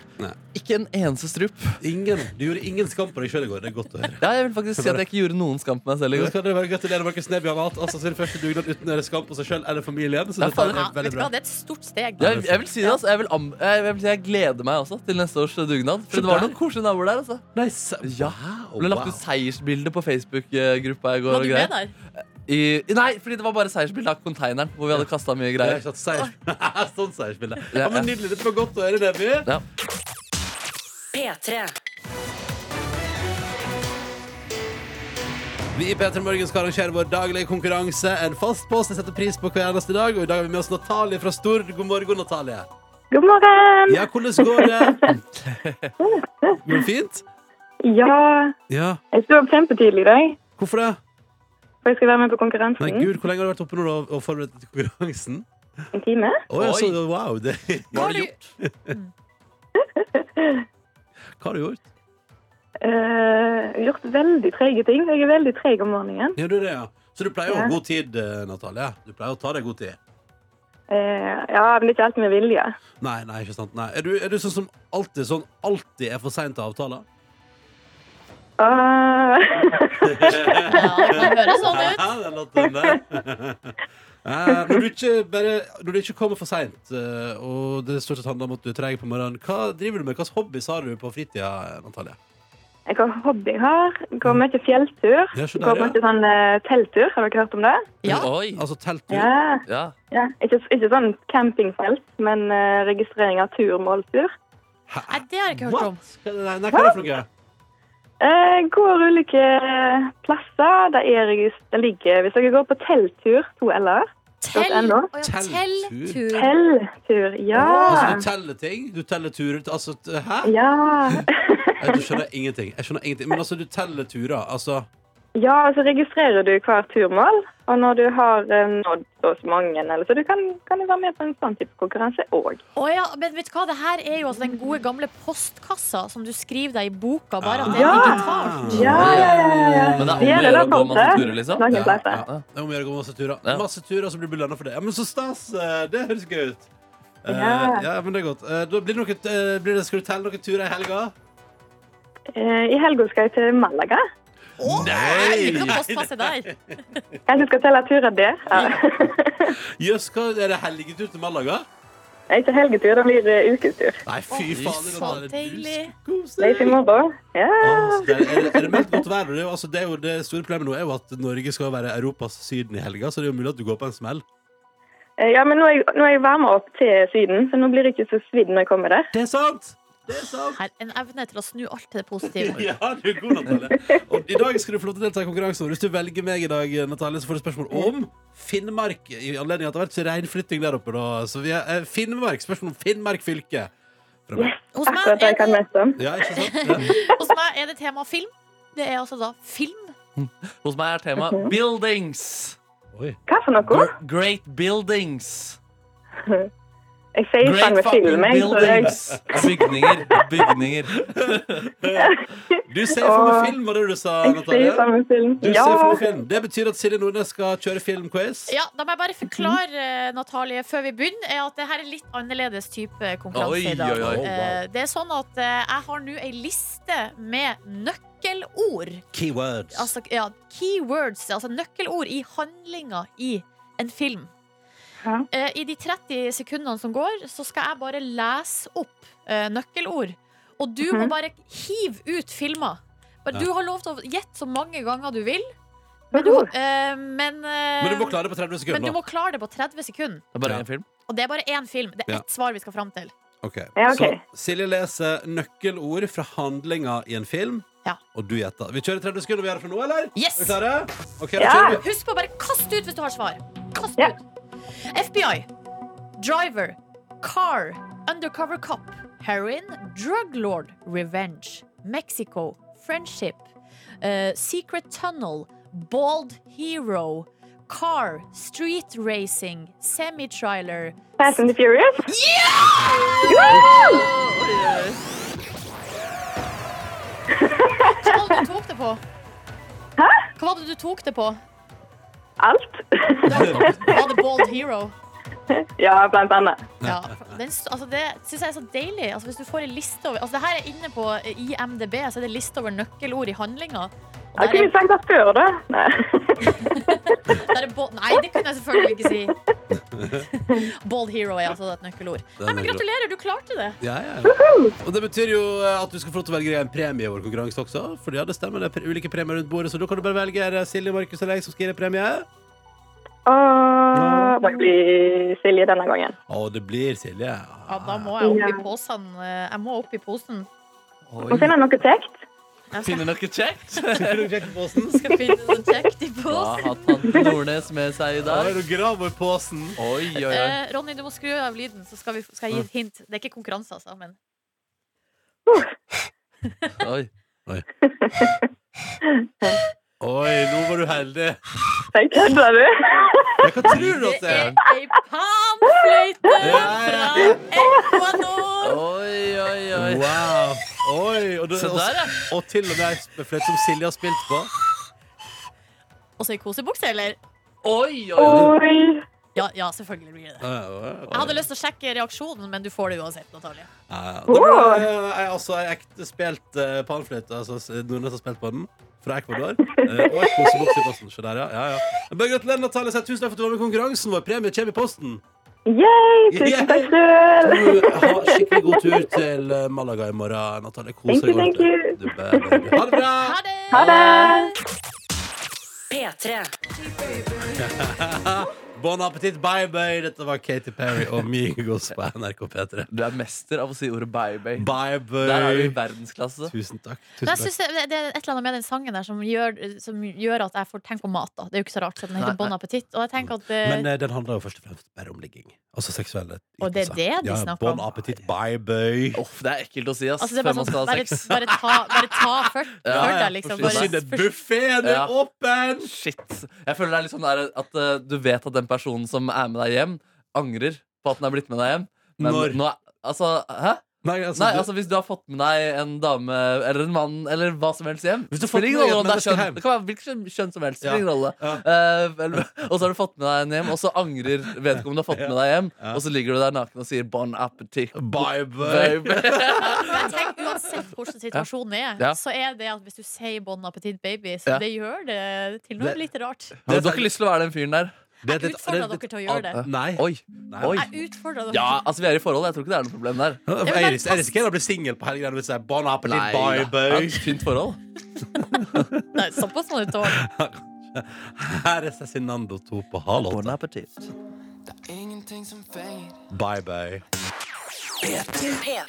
C: Ikke en eneste strup.
B: Ingen, du gjorde ingen skam på deg sjøl i går. Det er godt å gratulerer.
C: Ja, jeg vil faktisk si at jeg ikke gjorde noen skam på meg selv i
B: Nå
C: går.
B: skal dere bare gratulere Markus Neby. Han har hatt altså, sin første dugnad uten å gjøre skam på seg sjøl eller familien. Så
C: Ja,
B: dette
C: faen,
B: er
D: Ja, vet
B: veldig
D: du
B: bra.
D: hva, det er et stort steg. da.
C: Jeg, jeg vil si det, altså. Jeg, vil am jeg, jeg, vil si jeg gleder meg også til neste års dugnad. For
B: Se
C: det var
B: der.
C: noen koselige naboer der. altså
B: Nei, se-
C: Ja.
B: Wow,
C: Det ble lagt ut
B: wow.
C: seiersbilde på Facebook-gruppa i går.
D: Var
C: og
D: du
C: greier.
D: med der?
C: I, nei, fordi det var bare seiersbilde av konteineren hvor vi hadde kasta mye
B: Det er
C: greier.
B: ikke at seier- Sånn seiersbilde.
C: Ja,
B: Ja, men
C: ja.
B: nydelig. Dette var godt å høre, Neby.
C: Ja.
A: P3.
B: Vi i P3 Morgen skal arrangere vår daglige konkurranse. En fast post jeg setter pris på hver eneste dag. Og i dag har vi med oss Natalie fra Stord. God morgen, Natalie.
E: God morgen!
B: Ja, hvordan går det? Går det fint?
E: Ja,
B: Ja.
E: jeg sto opp kjempetidlig i dag,
B: Hvorfor det?
E: for jeg skal være med på
B: Nei,
E: konkurransen
B: gud, hvor lenge har du vært oppe nå da, og forberedt deg til konkurransen?
E: en time.
B: Oi, altså,
C: Oi.
B: wow. Det,
C: Hva har du gjort?
B: hva har du gjort?
E: Eh, gjort veldig trege ting. Jeg er veldig treg om morgenen.
B: Ja, du er det, ja. Så du pleier å ha
E: Ja.
B: god tid, eh, Natalie. Du pleier å ta deg god tid.
E: Eh, ja, men det er ikke alltid med vilje.
B: Nei, nei, ikke sant. Nei. Er, du, er du sånn som alltid, sånn, alltid er for sein til avtaler?
E: Ah,
D: Ja, det høres sånn ut.
B: Ja, den låten der. Eh, Når du ikke, bare, når du ikke kommer for seint, eh, og det stort sett handler om at du er treg på morgenen, hva driver du med? Hvilke hobbyer har du på fritida, Natalie?
E: hva hobby jeg har. Går mye fjelltur.
B: Ja, Mm. så der,
E: Går
B: ja.
E: mye sånn eh, telttur. Har dere hørt om det?
D: Ja.
C: Oi.
B: Altså telttur?
E: Ja.
C: Ja.
E: ja. Ikke, ikke sånn campingfelt, men eh, registrering av tur-måltur.
B: Hæ?
D: Nei, det har jeg ikke hørt om.
B: What? Hva er det- Nei, hva er det for noe?
E: Eh, går ulike eh, plasser. Der er regis- det ligger Hvis dere går på telttur, to l-er.
D: Tell,
E: .no.
D: Å ja,
B: Telltur.
D: telltur.
E: Telttur, ja.
B: Altså, du teller ting? Du teller turer til- altså, t- Hæ?
E: Ja.
B: Jeg, du skjønner ingenting. Jeg skjønner ingenting. Men altså, du teller turer. Altså
E: ja, og så registrerer du hver turmål. Og når du har eh, nådd så og så mange, eller så du kan, kan du være med på en sånn type konkurranse òg.
D: Å ja, men vet du hva, det her er jo altså den gode gamle postkassa som du skriver deg i boka, bare at det er
E: Ah. Ja.
D: digitalt.
E: Ja, ja, ja, ja, ja.
C: Men det er om
E: Ja,
C: å
E: det
C: gjøre
E: er
C: å gå
E: sant,
C: masse
E: det.
C: turer, liksom?
E: Lange
B: Ja,
E: plasser.
B: ja. Det er om å gjøre å gå masse turer.
C: Ja.
B: Masse turer, så blir du belønna for det. Ja, men så stas! eh, Det høres gøy ut. Eh,
E: Ja.
B: ja, men det er godt. Eh, Da blir det noe, eh, blir det, skal du telle noen turer i helga?
E: Eh, I helga skal jeg til Malaga.
D: Å,
B: Nei!
D: Ikke noe postkasse der.
E: Kanskje jeg skal telle turer der. Ja.
B: Jøss, hva- er det helgetur til Malaga?
E: Ikke helgetur, det blir eh, uketur.
B: Nei, fy
D: Å,
B: faen. det er
D: så
B: noe-
D: deilig.
B: Du skal kose
E: Det er ikke i
B: deg.
E: morgen. Ja.
B: Å, så deilig. Er altså, det- er det meldt godt vær? Det, er jo- altså, det, er jo, det store problemet nå er jo at Norge skal være Europas Syden i helga, så det er jo mulig at du går på en smell.
E: Eh, ja, men nå er, jeg, nå er jeg varma opp til Syden, så nå blir jeg ikke så svidd når jeg kommer der.
B: Det er sant! Det er sant!
D: Her, en evne til å snu alt til det positive.
B: Ja, du er god, Natalie. Og I dag skal du få lov til å delta i konkurransen. vår. Hvis du velger meg i dag, Natalie, så får du spørsmål om Finnmark. I anledning at det har vært reinflytting der oppe, da. Så vi er eh, Finnmark. Spørsmål om Finnmark fylke. Fra meg.
D: Hos
E: Akkurat
D: meg
E: det jeg
D: er
E: kan
D: det,
E: mest om.
B: Ja, ikke sant? Ja.
D: hos meg er det tema film. Det er altså da film.
C: Hos meg er tema buildings.
B: Oi.
E: Hva for noe?
C: Gr- Great buildings.
E: Jeg sier
C: Great
E: faen med
C: fucking
E: film, jeg. Så jeg
C: buildings. Bygninger. Bygninger.
B: Du ser for
E: Åh.
B: meg film, var det du sa,
E: Jeg sier
B: Natalie?
E: samme film.
B: Du
E: ja.
B: ser for meg film. Det betyr at Silje Nordnes skal kjøre filmquiz.
D: Ja, Da må jeg bare
B: Mhm.
D: forklare eh, Natalie, før vi begynner, er at det her er litt annerledes type
C: Oi,
D: konkurranse i dag.
C: oi,
B: Oh,
C: oi.
D: Eh, Det er sånn at eh, jeg har nå ei liste med nøkkelord.
B: Keywords.
D: Altså, ja, keywords, altså nøkkelord i handlinga i en film.
E: Ja.
D: Eh, I de 30 sekundene som går, så skal jeg bare lese opp eh, nøkkelord. Og du må
E: Mhm.
D: bare hive ut filmer. Bare-
B: Ja.
D: Du har lov til å gjette så mange ganger du vil, men du, eh, men, eh,
B: Men du må klare det på 30
D: men du
B: sekunder.
D: må klare det på 30 sekunder.
C: Det er bare én film.
D: Og det er bare én film. Det er
B: Ja.
D: ett svar vi skal fram til.
B: Ok.
E: Ja, ok.
B: Så Silje leser nøkkelord fra handlinga i en film,
D: Ja.
B: og du gjetter. Vi kjører 30 sekunder vi gjør det fra nå, eller?
D: Yes!
B: Er vi klare? Ok, da
E: Ja.
B: kjører vi.
D: Husk på å bare kaste ut hvis du har svar. Kast
E: Ja.
D: ut. FBI, driver, car, undercover cop, heroin, drug lord, revenge, Mexico, friendship, eh, secret tunnel, bald hero, car, street racing, semi-trailer.
E: Fast and the Furious.
D: Hva var det du tok det på? Hva var det du tok det på?
E: Alt.
D: Var det bald hero?
E: ja, blant annet.
D: Ja, Den, s- altså det syns jeg er så deilig. Altså hvis du får en liste over altså det her er inne på IMDb, så er altså, det liste over nøkkelord i handlinga. Og
E: Jeg
D: Der er,
E: kunne jo sagt det før, da. Nei.
D: der er bo- nei, det kunne jeg selvfølgelig ikke si. Bold hero er altså et nøkkelord.
B: er
D: Nei, men
B: nøkkelord.
D: Gratulerer, du klarte det!
B: Ja, ja. Og det betyr jo eh, at du skal få lov til å velge en premie i vår konkurranse også. For ja, det stemmer, det er pre- ulike premier rundt bordet, så da kan du bare velge Er det Silje, Markus eller jeg som skal gi deg premie.
E: Og må jeg bli Silje denne gangen.
B: Å, det blir Silje.
D: Ja, da må jeg opp i
E: Ja.
D: posen. eh, Jeg må opp i posen.
E: Må finne noe kjekt.
D: Jeg skal,
C: Finner dere kjekt?
B: Er du kjekk i posen?
D: skal finne noe kjekt i
C: Hva
D: posen.
C: har tante Nordnes med seg i
B: Da er
C: dag?
B: du grav i posen.
C: Oi, oi, oi.
D: Eh, Ronny, du må skru av lyden, så skal, vi, skal jeg gi et hint. Det er ikke konkurranse, altså. Men Eh.
C: oi.
B: Oi, nå var du heldig.
E: Jeg kødder, du.
B: Men hva tror du
D: det
B: at det
D: er
B: er?
D: ei panfløyte
B: Ja,
D: fra
B: ja,
D: Ecuador!
C: Oi, oi, oi.
B: Wow. Oi, og, det,
C: Se der, ja.
B: og, og til og med ei fløyte som Silje har spilt på.
D: Og så i kosebukse, eller?
C: Oi, oi, oi.
E: Oi.
D: Ja, ja, selvfølgelig blir det det. Jeg hadde lyst til å sjekke reaksjonen, men du får det uansett. Natalie
B: Ja, ja. Da ble det eh, altså ei ekte spilt eh, panfløyte. Altså s- Nordnes har spilt på den. Fra Ecuador. Eh, og et kosebukse i posten. Se der, ja. ja, ja. Men Bare gratulerer, Natalie. Sier Tusen takk for at du var med i konkurransen vår. Premie kommer i posten.
E: Yay, tusen takk sjøl.
B: Du, Ha skikkelig god tur til eh, Malaga i morgen, Natalie. Kos deg.
E: Thank you, thank you.
B: ordentlig. Du bare- Ha det bra.
D: Ha det!
E: Ha det.
A: P3.
B: Bon appétit, bye bye. Dette var Katy Perry og Migos på NRK P3.
C: Du er mester av å si ordet baby.
B: Bye
C: Der er du i
B: bye.
C: verdensklasse.
B: Tusen takk.
D: Men
B: Tusen
D: jeg
B: takk.
D: synes det, det er et eller annet med den sangen der som gjør, som gjør at jeg får tenke på mat. da Det er jo ikke så rart, så den
C: Nei,
D: heter Bon
C: nei.
D: appétit. Og jeg tenker at
B: Men
D: eh,
B: eh, den handler jo først og fremst bare om ligging. Altså seksuelle
D: Og det er
B: ytelser.
D: det de
B: ja,
D: snakker om.
B: Bon appétit, bye bye.
C: Uff, det er ekkelt å si, ass.
D: altså, det er
C: før
D: bare,
C: man
D: sånn,
C: skal ha
D: bare,
C: sex.
D: bare ta, bare ta før,
C: Ja,
D: før
C: ja,
D: deg, liksom.
C: for
D: Bare,
C: siden
B: Buffeen
C: er Ja.
B: åpen!
C: Shit. Jeg føler det er litt sånn der at eh, du vet at den personen som er med deg hjem, angrer på at den er blitt med deg hjem. Men
B: Når?
C: nå er- Altså, hæ?
B: Nei, altså,
C: Nei,
B: du-
C: altså Hvis du har fått med deg en dame eller en mann eller hva som helst hjem
B: Hvis du har fått
C: spiller ingen
B: med deg
C: rolle om
B: et
C: det, er
B: menneske
C: kjønn.
B: hjem.
C: det kan være hvilket kjønn, kjønn som helst.
B: Ja.
C: spiller ingen rolle
B: Ja.
C: Eh, eller- Og så har du fått med deg en hjem, og så angrer vedkommende du har fått med deg hjem,
B: Ja.
C: og så ligger du der naken og sier 'bon appétit'.
B: Bye bye.
C: babe».
D: Men jeg tenker uansett hvordan situasjonen er,
C: Ja.
D: så er det at hvis du sier Bon appétit baby,
C: Ja.
D: så det gjør det til noe
B: Det-
D: litt rart.
C: Har du ikke lyst til å være den fyren der?
B: Det er
D: Jeg
B: litt- det
D: utfordrer
B: er
D: dere til å
B: litt-
D: gjøre det.
B: Nei.
C: Oi.
B: Nei.
C: Oi.
D: Jeg utfordrer dere.
C: Ja, altså Vi er i forhold. Jeg tror ikke det er noe problem der.
B: Ja,
D: men
B: for
D: det er
B: Jeg ris- jeg risikerer å bli singel på helgen hvis jeg sier bon appétit,
C: Nei,
B: bye
C: da. Det er
B: bye.
C: et fint forhold.
D: Nei, såpass må du tåle.
B: Her er Cezinando 2 på halv
C: Bon
B: åtte.
C: appétit.
B: Bye bye.
A: P3.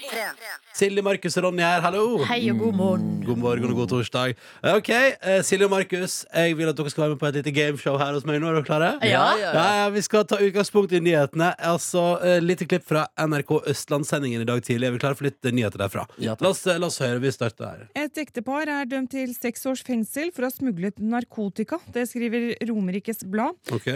B: Silje, Markus og Ronny her, hallo.
D: Hei og god morgen.
B: God morgen og god torsdag. Ok, eh, Silje og Markus, jeg vil at dere skal være med på et lite gameshow her hos meg. Nå er dere klare?
D: Ja.
B: Ja, ja, vi skal ta utgangspunkt i nyhetene. Altså, eh, Lite klipp fra NRK Østlandssendingen i dag tidlig. Er vi klare for litt eh, nyheter derfra?
C: Ja,
B: la,
C: takk.
B: oss, eh, la oss høre. Vi starter her.
F: Et ektepar er dømt til seks års fengsel for å ha smuglet narkotika. Det skriver Romerikes Blad.
B: Ok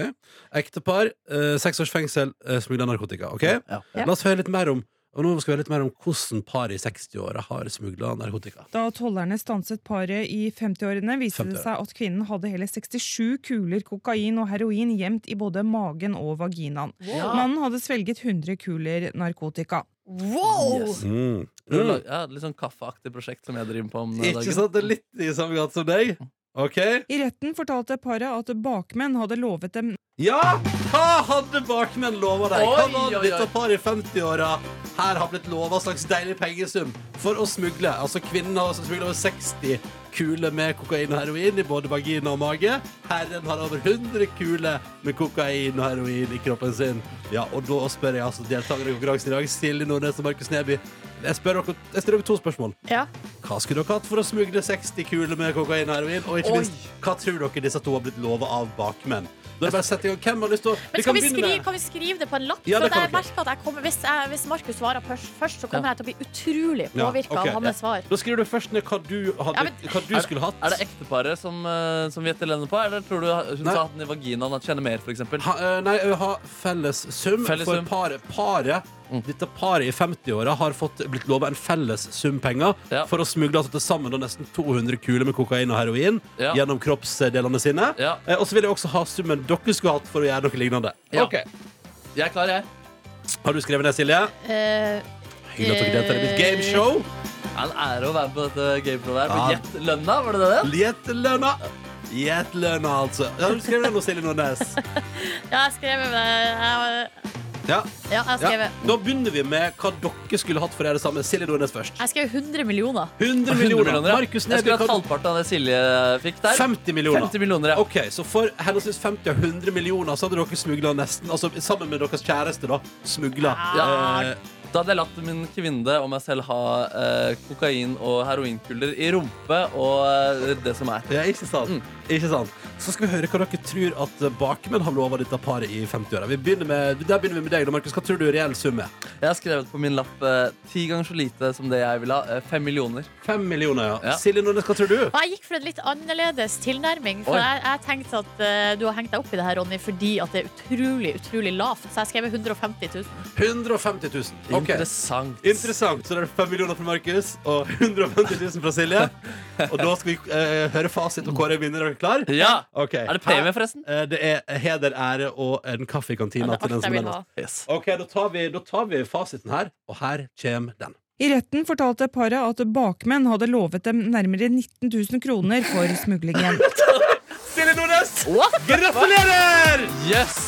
B: Ektepar, eh, seks års fengsel, eh, smugla narkotika. Ok?
C: Ja.
B: La oss høre litt mer om og nå skal vi høre litt mer om hvordan par i 60-åra har smugla narkotika.
F: Da tollerne stanset paret i 50-årene, viste det
B: 50-årene.
F: seg at kvinnen hadde hele 67 kuler kokain og heroin gjemt i både magen og vaginaen. Mannen hadde svelget 100 kuler narkotika.
D: Wow!
C: Yes.
B: Mm.
C: Prøv å lage- Ja, litt sånn kaffeaktig prosjekt som jeg driver på om dagen.
B: Ikke sant? Det er litt i samme gate som deg. Ok?
F: I retten fortalte paret at bakmenn hadde lovet dem
B: Ja! Hva hadde bakmenn lova deg? Hva
C: Oi,
B: var det
C: oi,
B: dette
C: oi.
B: paret i 50-åra her har blitt lova en slags deilig pengesum for å smugle? Altså Kvinnen har altså smugla over 60 kuler med kokain og heroin i både vagina og mage. Herren har over 100 kuler med kokain og heroin i kroppen sin. Ja, Og da spør jeg altså deltakerne i konkurransen i dag, Silje Nordnes og Markus Neby, jeg spør dere, jeg stiller dere to spørsmål.
D: Ja.
B: Hva skulle dere hatt for å smugle 60 kuler med kokain og heroin? Og ikke
C: Oi.
B: minst, hva tror dere disse to har blitt lova av bakmenn? Da er det bare å sette i gang. Hvem har lyst til å
D: Men skal vi, skrive, kan vi skrive det på en lapp?
B: Ja,
D: For
B: det
D: at
B: kan
D: jeg
B: dere.
D: merker at jeg kommer, hvis jeg- hvis Markus svarer først, først, så kommer
C: Ja.
D: jeg til å bli utrolig
B: Ja,
D: påvirka
B: ok,
D: av
B: ja.
D: hans svar.
B: Da skriver du først ned hva du, hadde,
D: Ja, men-
B: hva du skulle hatt.
C: Er det ekteparet som, eh, som vi gjetter på, eller tror du hun
B: Nei.
C: sa at den i vaginaen at kjenner mer, for eksempel?
B: ha, eh, nei, eh, ha felles sum
C: Felles
B: for
C: sum. Mm.
B: paret. Paret, Dette paret i 50-åra har fått, blitt lova en felles sum penger
C: Ja.
B: for å smugle altså, til sammen da, nesten 200 kuler med kokain og heroin
C: Ja.
B: gjennom kroppsdelene sine.
C: Ja.
B: Eh, og så vil jeg også ha summen dere skulle hatt for å gjøre noe lignende.
C: Ja.
B: Ok.
C: Jeg er klar, jeg.
B: Har du skrevet det, Silje?
D: Eh,
B: Hyggelig at dere deltar i mitt gameshow.
C: Ja, en ære å være med på dette gameplay der.
B: Ja.
C: Men gjett lønna, var det det?
B: Gjetlønna. Gjetlønna, altså. Har du skrevet det nå, Silje Nordnes?
D: ja, jeg skrev det. Jeg-
B: Ja.
D: Ja, jeg skrev
B: ja. Da begynner vi med hva dere skulle hatt for dere sammen. Silje Nordnes først.
D: Jeg skrev 100 millioner.
B: 100
C: 100
B: millioner.
C: millioner, ja.
B: Markus
C: Jeg
B: Neby.
C: skulle hatt
B: hva-
C: halvparten av det Silje eh, fikk der.
B: 50 millioner.
C: 50 millioner, ja.
B: Ok, så for henholdsvis 50 og 100 millioner så hadde dere smugla nesten Altså sammen med deres kjæreste, da. Smugla.
C: Ja.
B: Eh,
C: Da hadde jeg latt min kvinne og meg selv ha eh, kokain og heroinkuller i rumpe og eh, det som er.
B: ja, ikke sant?
C: Mm.
B: Ikke sant? Så skal vi høre hva dere tror at eh, bakmenn har lova dette paret i 50-åra. Vi begynner med, der begynner vi med deg, da, Markus. Hva tror du er reell sum er?
C: Jeg har skrevet på min lapp eh, ti ganger så lite som det jeg ville ha. Eh, fem millioner.
B: Fem millioner, ja.
C: Ja.
B: Silje Nordnes, hva tror du?
D: Og jeg gikk for en litt annerledes tilnærming. For
C: Oi.
D: jeg, jeg tenkte at eh, du har hengt deg opp i det her, Ronny, fordi at det er utrolig utrolig lavt. Så jeg skrev 150 000.
B: 150 000. Ok.
C: Interessant.
B: Interessant. Så det er 5 millioner fra Markus og 150 000 fra Silje. Og da skal vi eh, høre fasit og kåre en vinner. Er dere klar?
C: Ja!
B: Ok.
C: Er det premie, forresten?
B: Eh, Det er heder, ære og en kaffe i
D: Men
B: kantina.
D: det er
B: til den
D: alt
B: som
D: jeg vil
B: er
D: ha.
B: nærmest. Ok, da tar, vi, da tar vi fasiten her, og her kommer den.
F: I retten fortalte paret at bakmenn hadde lovet dem nærmere 19 000 kroner for smuglingen.
B: Silje Nordnes,
C: What?
B: gratulerer!
C: Yes!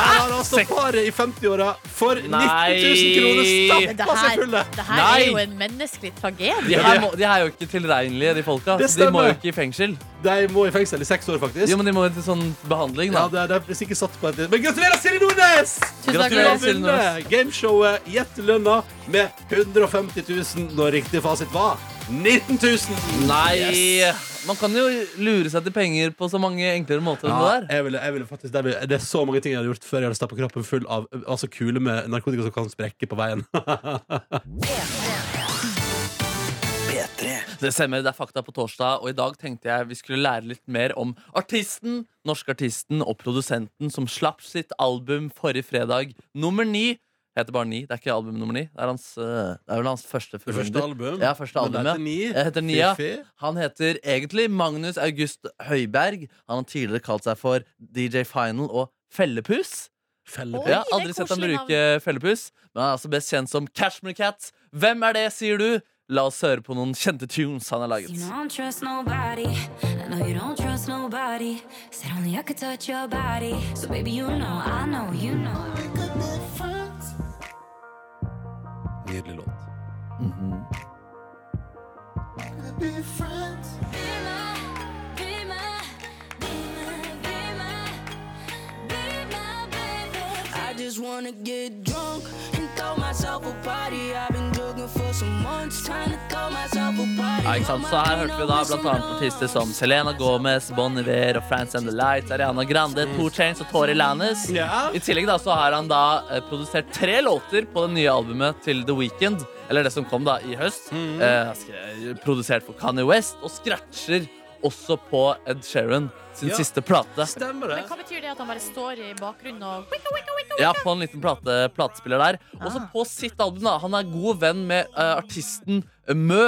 B: Her har altså paret i 50-åra for 19 000 kroner
D: Men
B: stappa
D: det
B: seg
D: her,
B: fulle.
D: det her
C: Nei.
D: er jo en menneskelig tragedie.
C: De her, må, de her er jo ikke tilregnelige, de folka.
B: Det
C: Så de må
B: stemmer.
C: jo ikke i fengsel.
B: De må i fengsel i seks år, faktisk.
C: Jo, men de må jo til sånn behandling,
B: Ja,
C: da.
B: det er, det er sikkert satt på et Men gratulerer, Silje Nordnes!
D: Tusen takk.
B: Du har
C: Gratulerer,
D: Ronny.
C: Silje Nordnes.
B: vunnet gameshowet Gjett lønna med 150 000 når riktig fasit var 19 000.
C: Nei! Man kan jo lure seg til penger på så mange enklere måter enn
B: Ja,
C: det der.
B: jeg ville, jeg ville faktisk, det, er, det er så mange ting jeg hadde gjort før jeg hadde stappa kroppen full av altså kuler med narkotika som kan sprekke på veien.
C: Det stemmer, det er fakta på torsdag, og i dag tenkte jeg vi skulle lære litt mer om artisten, norske artisten og produsenten som slapp sitt album forrige fredag, nummer ni. Heter bare ni, det er ikke album nummer ni. Det er, hans, eh, det er vel hans første
B: Første
C: fullrunder.
B: album.
C: Ja, første album, ja. Jeg heter Nia.
B: Fifi.
C: Han heter egentlig Magnus August Høiberg. Han har tidligere kalt seg for DJ Final og Fellepus.
B: Felle-
D: Oi,
C: Ja,
D: det er
C: aldri sett ham
D: koselig
C: bruke fellepus, men han er altså best kjent som Cashmere Cat. Hvem er det, sier du? La oss høre på noen kjente tunes han har laget.
G: You know I don't trust nobody. I know you don't trust nobody. Said only I could touch your body. So baby, you know, I know, you know.
B: Nydelig låt.
G: Be my, be my, be my, be my, be my baby.
H: I just wanna get drunk and throw myself a party. I've been jogging for some months, trying to throw myself a party.
C: Ja, ikke sant? Så her hørte vi da blant annet artister som Selena Gomez, Bon Iver og France and the Lights, Ariana Grande, Two Chainz og Tori Lannis.
B: Ja.
C: I tillegg da så har han da eh, produsert tre låter på det nye albumet til The Weeknd, eller det som kom da i høst.
B: Mhm.
C: Eh, skre- produsert for Kanye West, og scratcher også på Ed Sheeran sin
B: Ja.
C: siste plate.
B: Stemmer
D: Men hva betyr det at han bare står i bakgrunnen og
C: Ja, på en liten plate, platespiller der. Og så på sitt album, da. Han er god venn med eh, artisten Mø.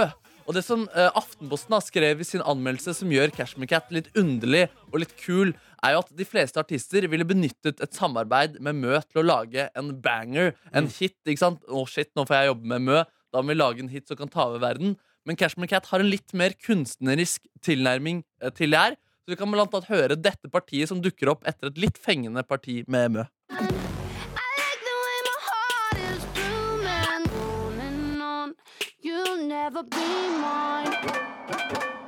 C: Og det som eh, Aftenposten da skrev i sin anmeldelse, som gjør Cashmere Cat litt underlig og litt kul, er jo at de fleste artister ville benyttet et samarbeid med Mø til å lage en banger, en hit. ikke sant? Å, shit, nå får jeg jobbe med Mø. Da må vi lage en hit som kan ta over verden. Men Cashmere Cat har en litt mer kunstnerisk tilnærming eh, til det her. Så vi kan blant annet høre dette partiet som dukker opp etter et litt fengende parti med Mø.
G: I like the way my heart is blooming. On and on, you'll never be mine.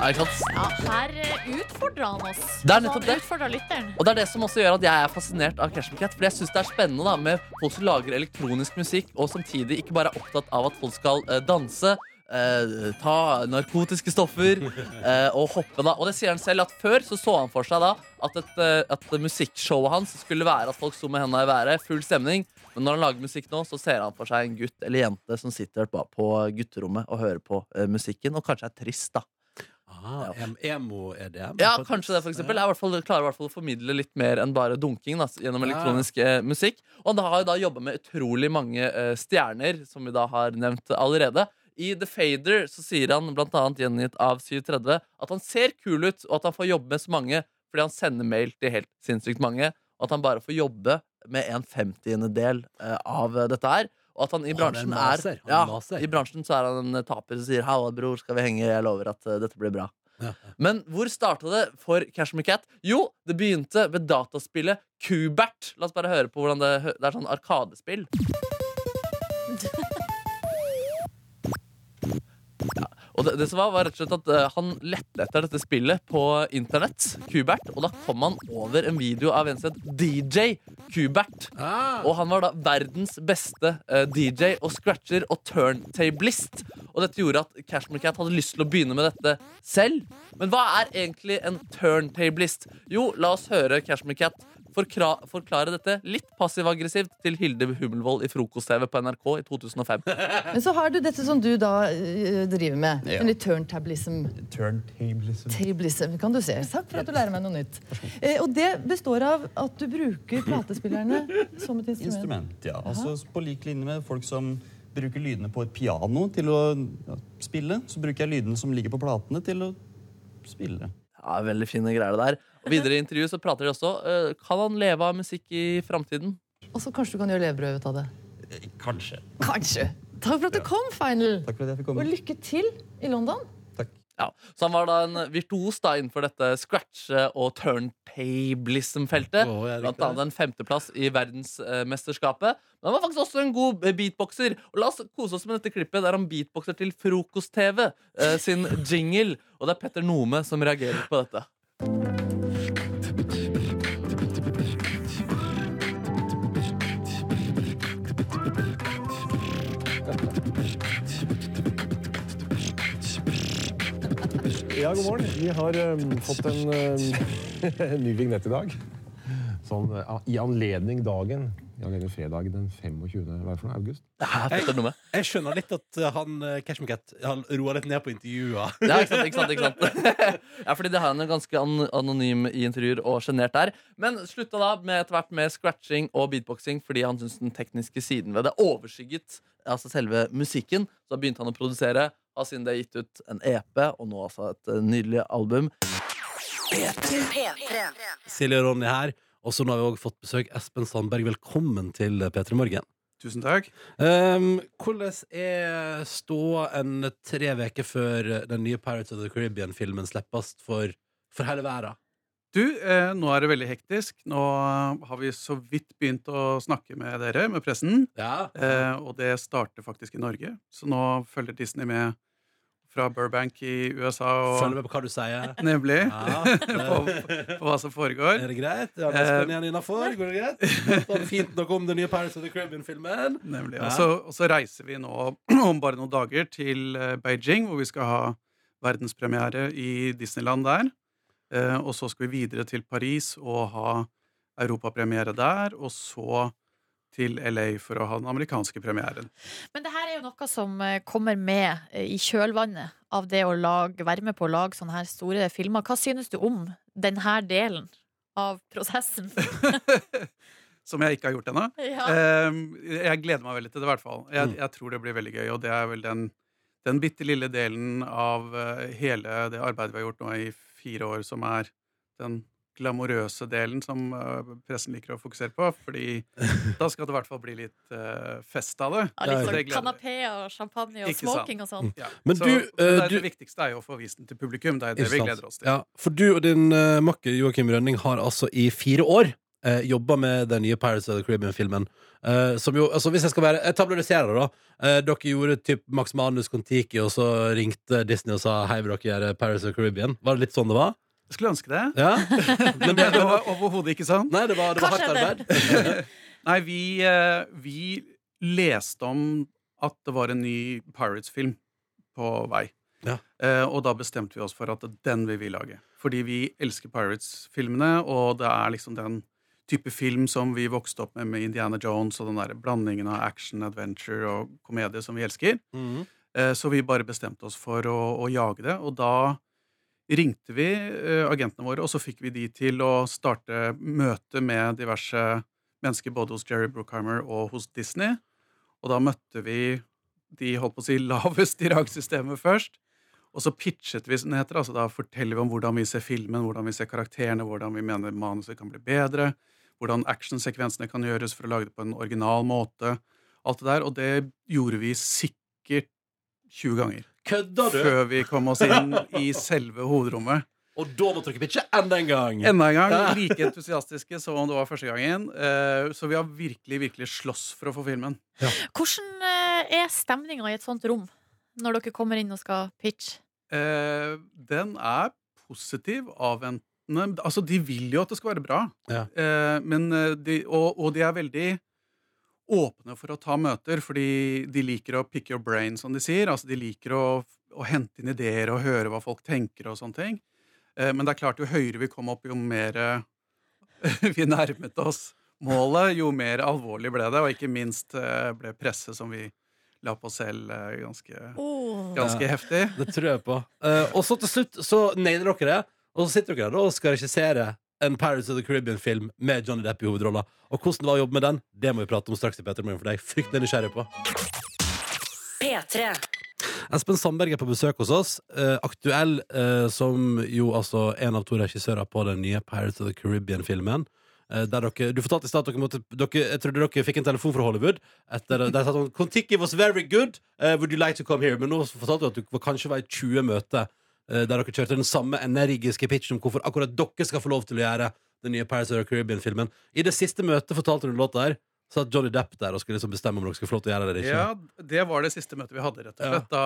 C: Ja, ikke sant?
D: Ja, her eh, utfordrer han oss.
C: Det er
D: Altså,
C: nettopp
D: han
C: det.
D: Utfordrer lytteren.
C: Og det er det som også gjør at jeg er fascinert av Cashmere Cat. Fordi jeg syns det er spennende da med folk som lager elektronisk musikk, og samtidig ikke bare er opptatt av at folk skal eh, danse. eh, ta narkotiske stoffer eh, og hoppe, da. Og det sier han selv at før så så han for seg da at, et, eh, at musikkshowet hans skulle være at folk sto med hendene i været, full stemning. Men når han lager musikk nå, så ser han for seg en gutt eller jente som sitter bare på gutterommet og hører på eh, musikken, og kanskje er trist, da.
B: Ah, em- Emo-EDM?
C: Ja, kanskje det, for eksempel. Jeg i hvert fall, klarer i hvert fall å formidle litt mer enn bare dunking da, gjennom elektronisk eh, musikk. Og han har jo da jobba med utrolig mange eh, stjerner, som vi da har nevnt allerede. I The Fader så sier han, blant annet gjengitt av 730, at han ser kul ut, og at han får jobbe med så mange fordi han sender mail til helt sinnssykt mange, og at han bare får jobbe med en femtiendedel eh, av eh, dette her. Og at han i
B: Å, han er en
C: bransjen er,
B: maser. Han er
C: ja,
B: en maser.
C: i bransjen så er han en eh, taper som sier 'halla, bror, skal vi henge? Jeg lover at eh, dette blir bra'.
B: Ja.
C: Men hvor starta det for Cashmere Cat? Jo, det begynte ved dataspillet Kubert. La oss bare høre på hvordan det hø- Det er sånn arkadespill. Ja, Og det, det som var, var rett og slett at eh, Han lette etter dette spillet på internett, Kubert, og da kom han over en video av en som het DJ Kubert.
B: Ah,
C: Og han var da verdens beste eh, DJ og scratcher og turntablist. Og dette gjorde at Cashmere Cat hadde lyst til å begynne med dette selv. Men hva er egentlig en turntablist? Jo, la oss høre Cashmere Cat forkra- forklare dette litt passiv-aggressivt til Hilde Hummelvold i Frokost-TV på NRK i 2005.
I: Men så har du dette som du da eh, driver med. Ja. Turntablism. Tablism, kan du se. Takk for at du lærer meg noe nytt. Eh, og det består av at du bruker platespillerne som et instrument.
J: Instrument, ja. Altså på lik linje med folk som bruker lydene på et piano til å ja, spille, så bruker jeg lydene som ligger på platene til å spille.
C: Ja, Veldig fine greier det der. Og videre i intervjuet så prater de også eh, Kan han leve av musikk i framtiden?
I: Og så kanskje du kan gjøre levebrød ut av det.
J: Eh, Kanskje.
I: Kanskje. Takk for at du kom, Final.
J: Takk for at jeg
I: Og
J: fikk komme.
I: lykke til i London.
J: Takk.
C: Ja, Så han var da en virtuos da innenfor dette scratch- og turntablism-feltet.
B: Å, jeg liker
C: Blant annet en femteplass i verdensmesterskapet. Men han var faktisk også en god eh, beatboxer. Og la oss kose oss med dette klippet der han beatboxer til Frokost-TV eh, sin jingle. Og det er Petter Nome som reagerer på dette.
K: Ja, god morgen. Vi har eh, fått en, eh, en ny vignett i dag. Sånn, eh, I anledning dagen. I anledning fredag den 25. hva er det for noe, august.
C: Det er Petter Nome.
B: jeg skjønner litt at uh, han uh, Cashmere Cat han roer litt ned på intervjua.
C: Ja, ikke sant, ikke sant, ikke sant. ja, fordi det har han jo ganske an anonym i intervjuer og sjenert der. Men slutta da med etter hvert med scratching og beatboxing fordi han syntes den tekniske siden ved det overskygget altså selve musikken. Så da begynte han å produsere, har siden det gitt ut en EP og nå altså et eh, nydelig album.
B: Silje og Ronny her. Og så nå har vi også fått besøk. Espen Sandberg, velkommen til eh, P3 Morgen.
L: Tusen takk.
B: Um, hvordan er ståa en tre uker før eh, den nye Pirates of the Caribbean-filmen slippes for, for hele verden?
L: Du, eh, nå er det veldig hektisk. Nå har vi så vidt begynt å snakke med dere, med pressen.
B: Ja.
L: Eh, og det starter faktisk i Norge. Så nå følger Disney med fra Burbank i USA
B: Følg
L: og
B: med på hva du sier.
L: Nemlig.
B: Ja.
L: på, på hva som foregår. Eh,
B: Er det greit? Ja, det er Espen igjen innafor. Går det greit? Var det fint nok om den nye Pirates of the Caribbean-filmen?
L: Nemlig.
B: Ja.
L: Og, så, og så reiser vi nå om bare noen dager til eh, Beijing, hvor vi skal ha verdenspremiere i Disneyland der. Eh, og så skal vi videre til Paris og ha europapremiere der, og så til LA for å ha den amerikanske premieren.
D: Men det her er jo noe som eh, kommer med eh, i kjølvannet av det å lage, være med på å lage sånne her store filmer. Hva synes du om denne delen av prosessen?
L: Som jeg ikke har gjort ennå.
B: Ah.
D: Ja.
L: Eh, jeg gleder meg veldig til det, i hvert fall. Jeg,
B: Mm.
L: jeg tror det blir veldig gøy, og det er vel den, den bitte lille delen av eh, hele det arbeidet vi har gjort nå i fire år, som er den glamorøse delen som eh, pressen liker å fokusere på, fordi da skal det i hvert fall bli litt eh, fest av det.
D: Ja, litt
L: Så det
D: sånn
L: gleder jeg.
D: kanapeer og champagne og
L: Ikke sant.
D: smoking og sånn.
L: Ja.
B: Men
L: så,
B: du,
L: men det,
B: eh,
L: er,
B: du-
L: det viktigste er jo å få vist den til publikum. Det er det
B: Ikke
L: vi
B: sant.
L: gleder oss til.
B: Ja, for du og din uh, makker Joakim Rønning har altså i fire år uh, jobba med den nye Pirates of the Caribbean-filmen. Eh, som jo, altså Hvis jeg skal være Jeg tabloidiserer, da. Eh, dere gjorde typ Max Manus Kon-Tiki, og så ringte Disney og sa hei, vil dere gjøre Pirates of the Caribbean? Var det litt sånn det var?
L: Skulle ønske det.
B: Ja?
L: Men det var overhodet ikke sånn.
B: Nei, det var, det var
D: Hva
B: hardt
D: skjedde?
B: arbeid.
L: Nei, vi, eh, vi leste om at det var en ny Pirates-film på vei.
B: Ja.
L: Eh, og da bestemte vi oss for at den vil vi lage. Fordi vi elsker Pirates-filmene, og det er liksom den type film som vi vokste opp med med Indiana Jones og den der blandingen av action, adventure og komedie som vi elsker.
B: Mhm.
L: Eh, Så vi bare bestemte oss for å, å jage det, og da
C: ringte vi eh, agentene våre, og så fikk vi de til å starte møte med diverse mennesker både hos Jerry Brookheimer og hos Disney. Og da møtte vi de holdt på å si lavest i rangsystemet først. Og så pitchet vi, som det heter. altså Da forteller vi om hvordan vi ser filmen, hvordan vi ser karakterene, hvordan vi mener manuset kan bli bedre, hvordan actionsekvensene kan gjøres for å lage det på en original måte. Alt det der. Og det gjorde vi sikkert 20 ganger.
B: Kødda du?
C: Før vi kom oss inn i selve hovedrommet.
B: Og da måtte dere pitche enda en gang!
C: Enda en gang.
B: Ja.
C: Like entusiastiske som om det var første gangen. Eh, Så vi har virkelig, virkelig slåss for å få filmen.
D: Hvordan eh, er stemninga i et sånt rom når dere kommer inn og skal pitche?
C: Eh, den er positiv, avventende Altså, de vil jo at det skal være bra,
B: Ja.
C: eh, men eh, de, og, og de er veldig åpne for å ta møter, fordi de liker å pick your brain, som de sier. Altså, de liker å, å hente inn ideer og høre hva folk tenker og sånne ting. Eh, men det er klart, jo høyere vi kom opp, jo mer eh, vi nærmet oss målet, jo mer alvorlig ble det, og ikke minst eh, ble presset som vi la på oss selv eh, ganske Ganske heftig.
B: Det tror jeg på. Eh, og så til slutt så nailer dere det, og så sitter dere der da og skal regissere en Paris of the Caribbean-film med Johnny Depp i hovedrolla. Og hvordan det var å jobbe med den, det må vi prate om straks i Peter Morgen, for det er jeg fryktelig nysgjerrig på.
A: P3.
B: Espen Sandberg er på besøk hos oss. eh, aktuell eh, som jo altså en av to regissører på den nye Pirates of the Caribbean-filmen. Eh, der dere, du fortalte i stad at dere, måtte, dere jeg trodde dere fikk en telefon fra Hollywood. Etter, der satt sånn Kon-Tiki was very good. eh, would you like to come here? Men nå fortalte du at du var- kanskje var i 20 møter eh, der dere kjørte den samme energiske pitchen om hvorfor akkurat dere skal få lov til å gjøre den nye Pirates of the Caribbean-filmen. I det siste møtet fortalte du låta her. Satt Johnny Depp der og skulle liksom bestemme om dere skulle få lov til å gjøre det eller ikke.
C: Ja, det var det siste møtet vi hadde, rett og
B: Ja.
C: slett. Da,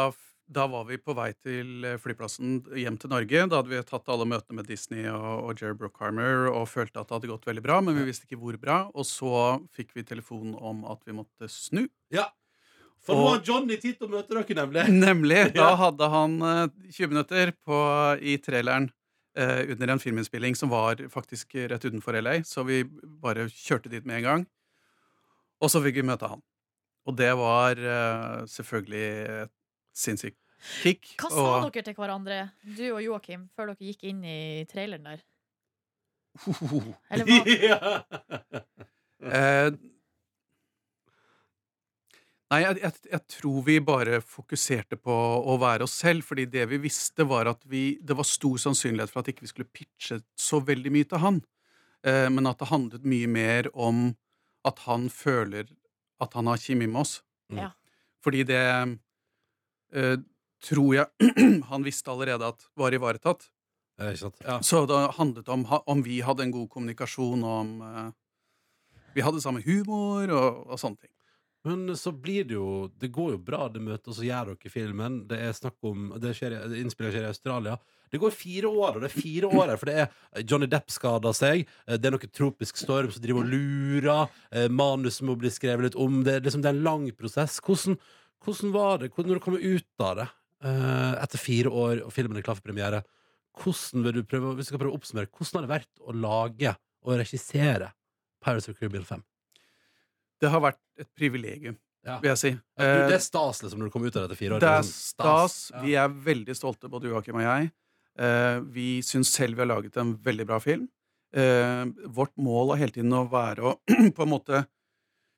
C: da var vi på vei til eh, flyplassen hjem til Norge. Da hadde vi tatt alle møtene med Disney og, og Jerry Brookheimer og følte at det hadde gått veldig bra, men vi visste ikke hvor bra. Og så fikk vi telefon om at vi måtte snu.
B: Ja. For nå har Johnny tid til å møte dere, nemlig.
C: Nemlig. Da
B: Ja.
C: hadde han eh, 20 minutter på, i traileren eh, under en filminnspilling som var faktisk rett utenfor LA, så vi bare kjørte dit med en gang. Og så fikk vi møte han. Og det var eh, selvfølgelig et sinnssykt kick.
D: Hva sa
C: og,
D: dere til hverandre, du og Joakim, før dere gikk inn i traileren der? Eller
B: hva?
C: Eh, Nei, jeg, jeg, jeg tror vi bare fokuserte på å være oss selv, fordi det vi visste, var at vi, det var stor sannsynlighet for at ikke vi skulle pitche så veldig mye til han, eh, men at det handlet mye mer om at han føler at han har kjemi med oss.
D: Ja.
C: Fordi det eh, tror jeg han visste allerede at var ivaretatt. Så det handlet om ha- om vi hadde en god kommunikasjon, og om eh, vi hadde samme humor og, og sånne ting.
B: Men så blir det jo Det går jo bra, det møtet, og så gjør dere filmen. Det er snakk om det skjer, i- det Innspillet skjer i Australia. Det går fire år, og det er fire år her, for det er Johnny Depp skada seg, eh, det er noe tropisk storm som driver og lurer, eh, manus må bli skrevet litt om, det er liksom det er en lang prosess. Hvordan, hvordan var det Hvordan- når du kommer ut av det, eh, etter fire år og filmen er klar for premiere, hvordan vil du prøve, hvis du skal prøve å oppsummere, hvordan har det vært å lage og regissere Pirates of the Caribbean 5?
C: Det har vært et privilegium,
B: Ja.
C: vil jeg si.
B: Ja, du, det
C: Eh,
B: er stas liksom når du kommer ut av dette fire år.
C: Det er
B: liksom
C: stas. Vi er veldig stolte, både Joakim og jeg. Eh, vi syns selv vi har laget en veldig bra film. Eh, vårt mål har hele tiden å være å på en måte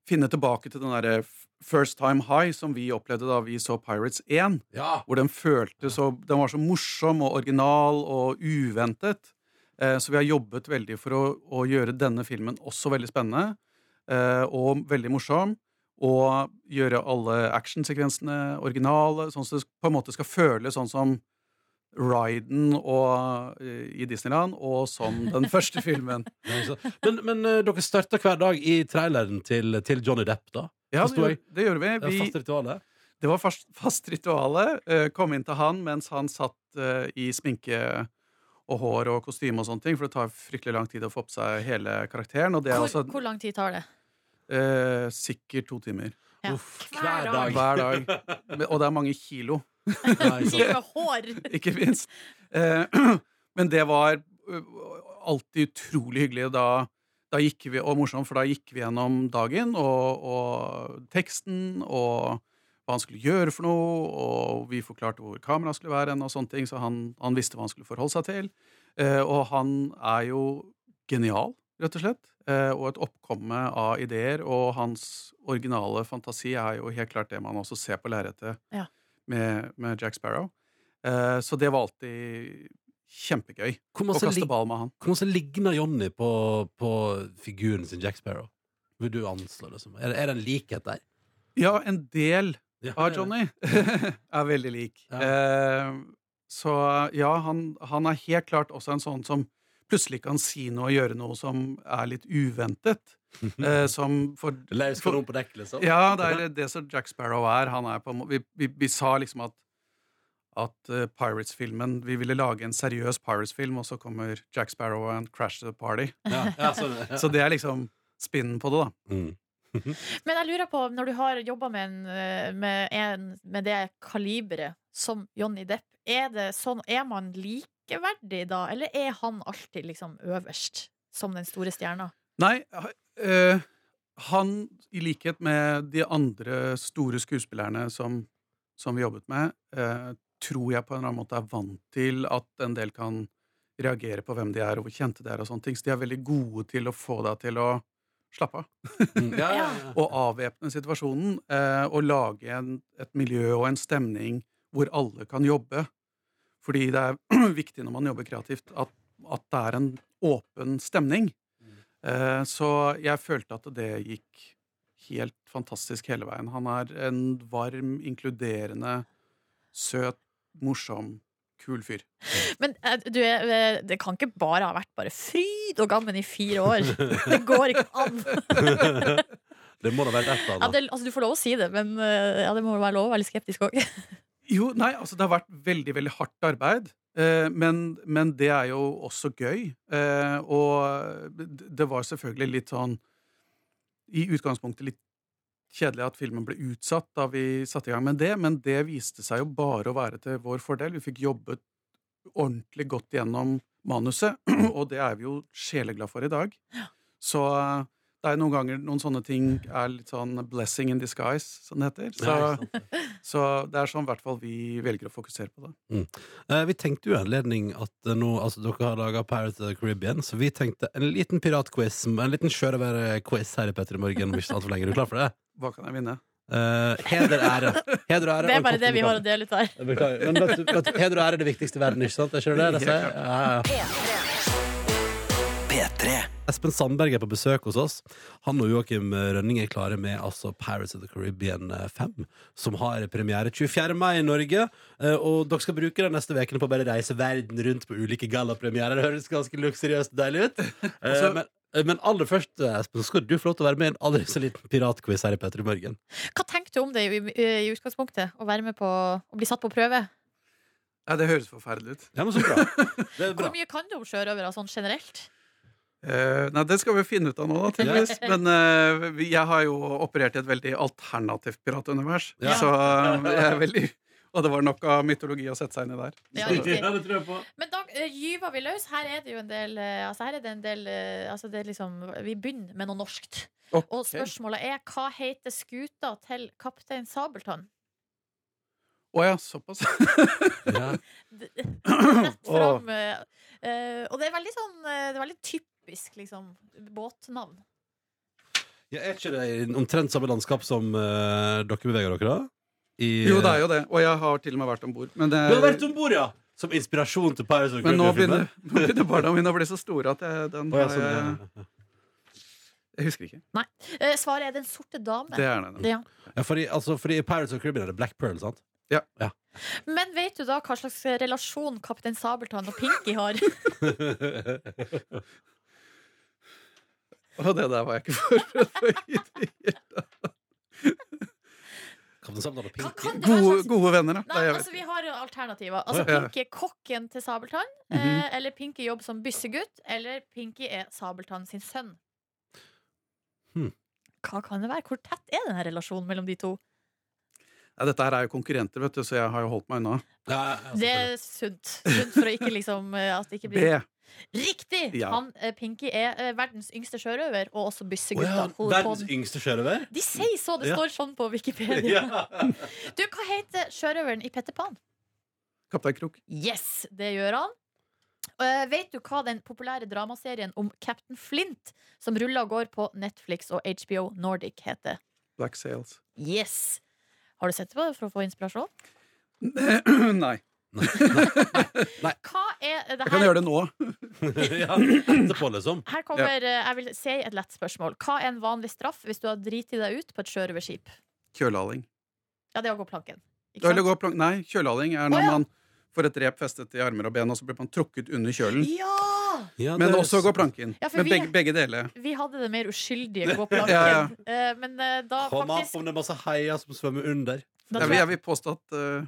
C: finne tilbake til den derre f- first time high som vi opplevde da vi så Pirates 1. Hvor den føltes så Den var så morsom og original og uventet. Eh, så vi har jobbet veldig for å, å gjøre denne filmen også veldig spennende eh, og veldig morsom. Og gjøre alle actionsekvensene originale, sånn at det på en måte skal føles sånn som Ryden og, eh, i Disneyland, og som den første filmen.
B: Men, men eh, dere starta hver dag i traileren til, til Johnny Depp, da?
C: Ja, det,
B: Forstår jeg.
C: gjør- det gjorde vi.
B: Det var
C: vi
B: fast rituale.
C: Det var fast, fast rituale. Eh, kom inn til han mens han satt eh, i sminke og hår og kostyme og sånne ting, for det tar fryktelig lang tid å få på seg hele karakteren. Og det er
D: Hvor,
C: altså
D: hvor lang tid tar det?
C: eh, sikkert to timer.
D: Ja.
B: hver dag.
C: Hver dag. Men- Og det er mange kilo.
B: sånn.
D: Kilo med hår!
C: altså- Ikke minst. Eh, Men det var eh, alltid utrolig hyggelig. og Da, da gikk vi, og morsomt, for da gikk vi gjennom dagen og, og teksten og
L: hva han skulle gjøre for noe, og vi forklarte hvor kameraet skulle være, hen og sånne ting, så han, han visste hva han skulle forholde seg til. Eh, og han er jo genial, rett og slett, eh, og et oppkomme av ideer, og hans originale fantasi er jo helt klart det man også ser på lerretet
D: Ja.
L: med, med Jack Sparrow. Eh, så det var alltid kjempegøy
B: Hvor
L: å
B: masse
L: kaste
B: lig-
L: ball med han.
B: Hvor masse ligner Johnny på, på figuren sin Jack Sparrow? Vil du anslå det som? Er, det- er det en likhet der?
L: Ja, en del av
B: det er
L: Johnny er veldig lik. Eh, så ja, han, han er helt klart også en sånn som plutselig kan si noe og gjøre noe som er litt uventet. Eh, som for,
B: Løs
L: for-
B: kanon på dekk, liksom.
L: Ja, det er det som Jack Sparrow er. Han er på, en må- vi, vi, vi sa liksom at at eh, Pirates-filmen Vi ville lage en seriøs Pirates-film, og så kommer Jack Sparrow and Crash the Party.
B: Ja, Mm. ja, sånn, ja.
L: Så det er liksom spinnen på det, da.
D: Men jeg lurer på, når du har jobba med, en, eh, med, en, med det kaliberet som Johnny Depp, er det sånn Er man likeverdig da, eller er han alltid liksom øverst som den store stjerna?
L: Nei, ha- eh, han, i likhet med de andre store skuespillerne som, som vi jobbet med, eh, tror jeg på en eller annen måte er vant til at en del kan reagere på hvem de er, og hvor kjente de er, og sånne ting. Så de er veldig gode til å få deg til å slappe av.
B: Mm.
L: og avvæpne situasjonen, eh, og lage en, et miljø og en stemning hvor alle kan jobbe. Fordi det er viktig når man jobber kreativt, at, at det er en åpen stemning. Eh, Så jeg følte at det gikk helt fantastisk hele veien. Han er en varm, inkluderende, søt, morsom, kul fyr.
D: Men eh, du, er, eh, det kan ikke bare ha vært bare fryd og gammen i fire år. Det går ikke an.
B: Det må da være et
D: Ja, det, altså, du får lov å si det, men eh, ja, det må være lov å være litt skeptisk òg.
L: Jo, nei, altså det har vært veldig, veldig hardt arbeid. eh, Men, men det er jo også gøy. eh, Og d- det var selvfølgelig litt sånn I utgangspunktet litt kjedelig at filmen ble utsatt da vi satte i gang med det, men det viste seg jo bare å være til vår fordel. Vi fikk jobbet ordentlig godt gjennom manuset, og det er vi jo sjeleglad for i dag. Så eh, det er noen ganger noen sånne ting er litt sånn blessing in disguise, som det heter. Så,
B: Ja,
L: så det er sånn i hvert fall vi velger å fokusere på det.
B: Mm. Eh, vi tenkte jo i anledning at eh, nå, altså, dere har laga Pirates of the Caribbean, så vi tenkte en liten piratquiz, en liten sjørøverquiz her i Petter i morgen om ikke så altfor lenge. Er du klar for det?
L: Hva kan jeg vinne?
B: Eh, heder, ære. Heder og ære. og
D: Det er
B: en
D: bare
B: kopp
D: det vi har å
B: med
D: dele ut her.
B: kaffe. Beklager. Men vet du, vet du, heder og ære er det viktigste i verden, ikke sant? Er ikke det det de sier? Ja, ja. Espen Sandberg er på besøk hos oss. Han og Joakim Rønning er klare med altså Pirates of the Caribbean 5, som har premiere 24. mai i Norge. Eh, Og dere skal bruke de neste ukene på å bare reise verden rundt på ulike gallapremierer. Det høres ganske luksuriøst deilig ut. Eh,
L: Altså-
B: Men, eh, men aller først, Espen, så skal du få lov til å være med i en aldri så liten piratquiz her i Petter i morgen.
D: Hva tenkte du om det i, i, i utgangspunktet? Å være med på å bli satt på prøve?
L: Ja, det høres forferdelig ut.
B: Ja, men så bra.
D: Hvor mye kan du om sjørøvere sånn generelt?
L: Eh, nei, det skal vi finne ut av nå, da, tydeligvis. Men eh, vi- jeg har jo operert i et veldig alternativt piratunivers.
B: Ja.
L: Så eh, jeg er veldig Og det var nok av mytologi å sette seg inn i der.
D: Ja, riktig. Ja, det Men da eh, gyver vi løs. Her er det jo en del eh, Altså her er det en del eh, altså det er liksom, Vi begynner med noe norskt.
L: Ok.
D: Og spørsmålet er hva heter skuta til kaptein Sabeltann?
L: Å ja, såpass.
D: Rett
L: Åh.
D: fram. eh, eh, og det er veldig sånn eh, Det er veldig typisk liksom, båtnavn.
B: Ja, er ikke det i omtrent samme landskap som eh, dere beveger dere, da? I- eh,
L: Jo, det er jo det. Og jeg har til og med vært om bord. Men,
C: eh,
L: det-
B: Du har vært om bord, ja! Som inspirasjon til Paris og
L: men nå begynner, nå begynner barna mine å bli så store at
C: eh,
L: jeg, den
B: Å, ja,
L: har
B: sånn, ja,
L: jeg Jeg husker ikke.
D: Nei. Eh, svaret er Den sorte dame.
B: Det er den,
D: Ja.
B: ja, fordi, altså, fordi i Pirates of the Caribbean er det Black Pearl, sant?
L: Ja.
D: Men vet du da hva slags relasjon kaptein Sabeltann og Pinky har?
L: Og det der var jeg ikke forberedt på. i det hele tatt. Gode, gode venner, da.
D: Nei,
L: Nei, jeg vet
D: altså Vi har alternativer. Altså
L: Ja.
D: Pinky er kokken til Sabeltann.
L: Mhm.
D: eh, Eller Pinky jobber som byssegutt. Eller Pinky er Sabeltann sin sønn.
B: Hmm.
D: Hva kan det være? Hvor tett er den her relasjonen mellom de to?
L: Ja, dette her er jo konkurrenter, vet du, så jeg har jo holdt meg unna.
D: Det er sunt. Sunt for å ikke liksom eh, at det ikke
L: B.
D: blir Riktig!
B: Ja.
D: Han, eh, Pinky er eh, verdens yngste sjørøver, og også
B: Å ja,
D: byssegutt.
B: verdens yngste sjørøver?
D: De sier så, det
B: Ja.
D: står sånn på Wikipedia. Du, hva heter sjørøveren i Petter Pan?
L: Kaptein Krok.
D: Yes, det gjør han. Eh, vet du hva den populære dramaserien om Captain Flint, som ruller og går på Netflix og HBO Nordic, heter?
L: Black Sails.
D: Yes! Har du sett på det for å få inspirasjon?
L: Nei.
D: Hva er det her?
L: Jeg kan gjøre det nå.
B: ja, etterpå, liksom.
D: Her kommer, eh, jeg vil si et lett spørsmål. Hva er en vanlig straff hvis du har driti deg ut på et sjørøverskip?
L: Kjølehaling.
D: Ja, det er å gå planken. Ikke
L: Eller
D: sant?
L: gå plank- Nei, kjølehaling er når man får et rep festet i armer og ben, og så blir man trukket under kjølen.
D: Ja!
L: Men også gå planken.
D: Ja, for
L: Men
D: vi-
L: begge, begge deler.
D: Vi hadde det mer uskyldige gå planken.
L: Ja,
D: Eh, Men eh, da
B: Kom an
D: faktisk
B: på om det er masse heier som svømmer under.
D: Da Jeg tror vil- jeg- jeg
L: vil påstå at eh,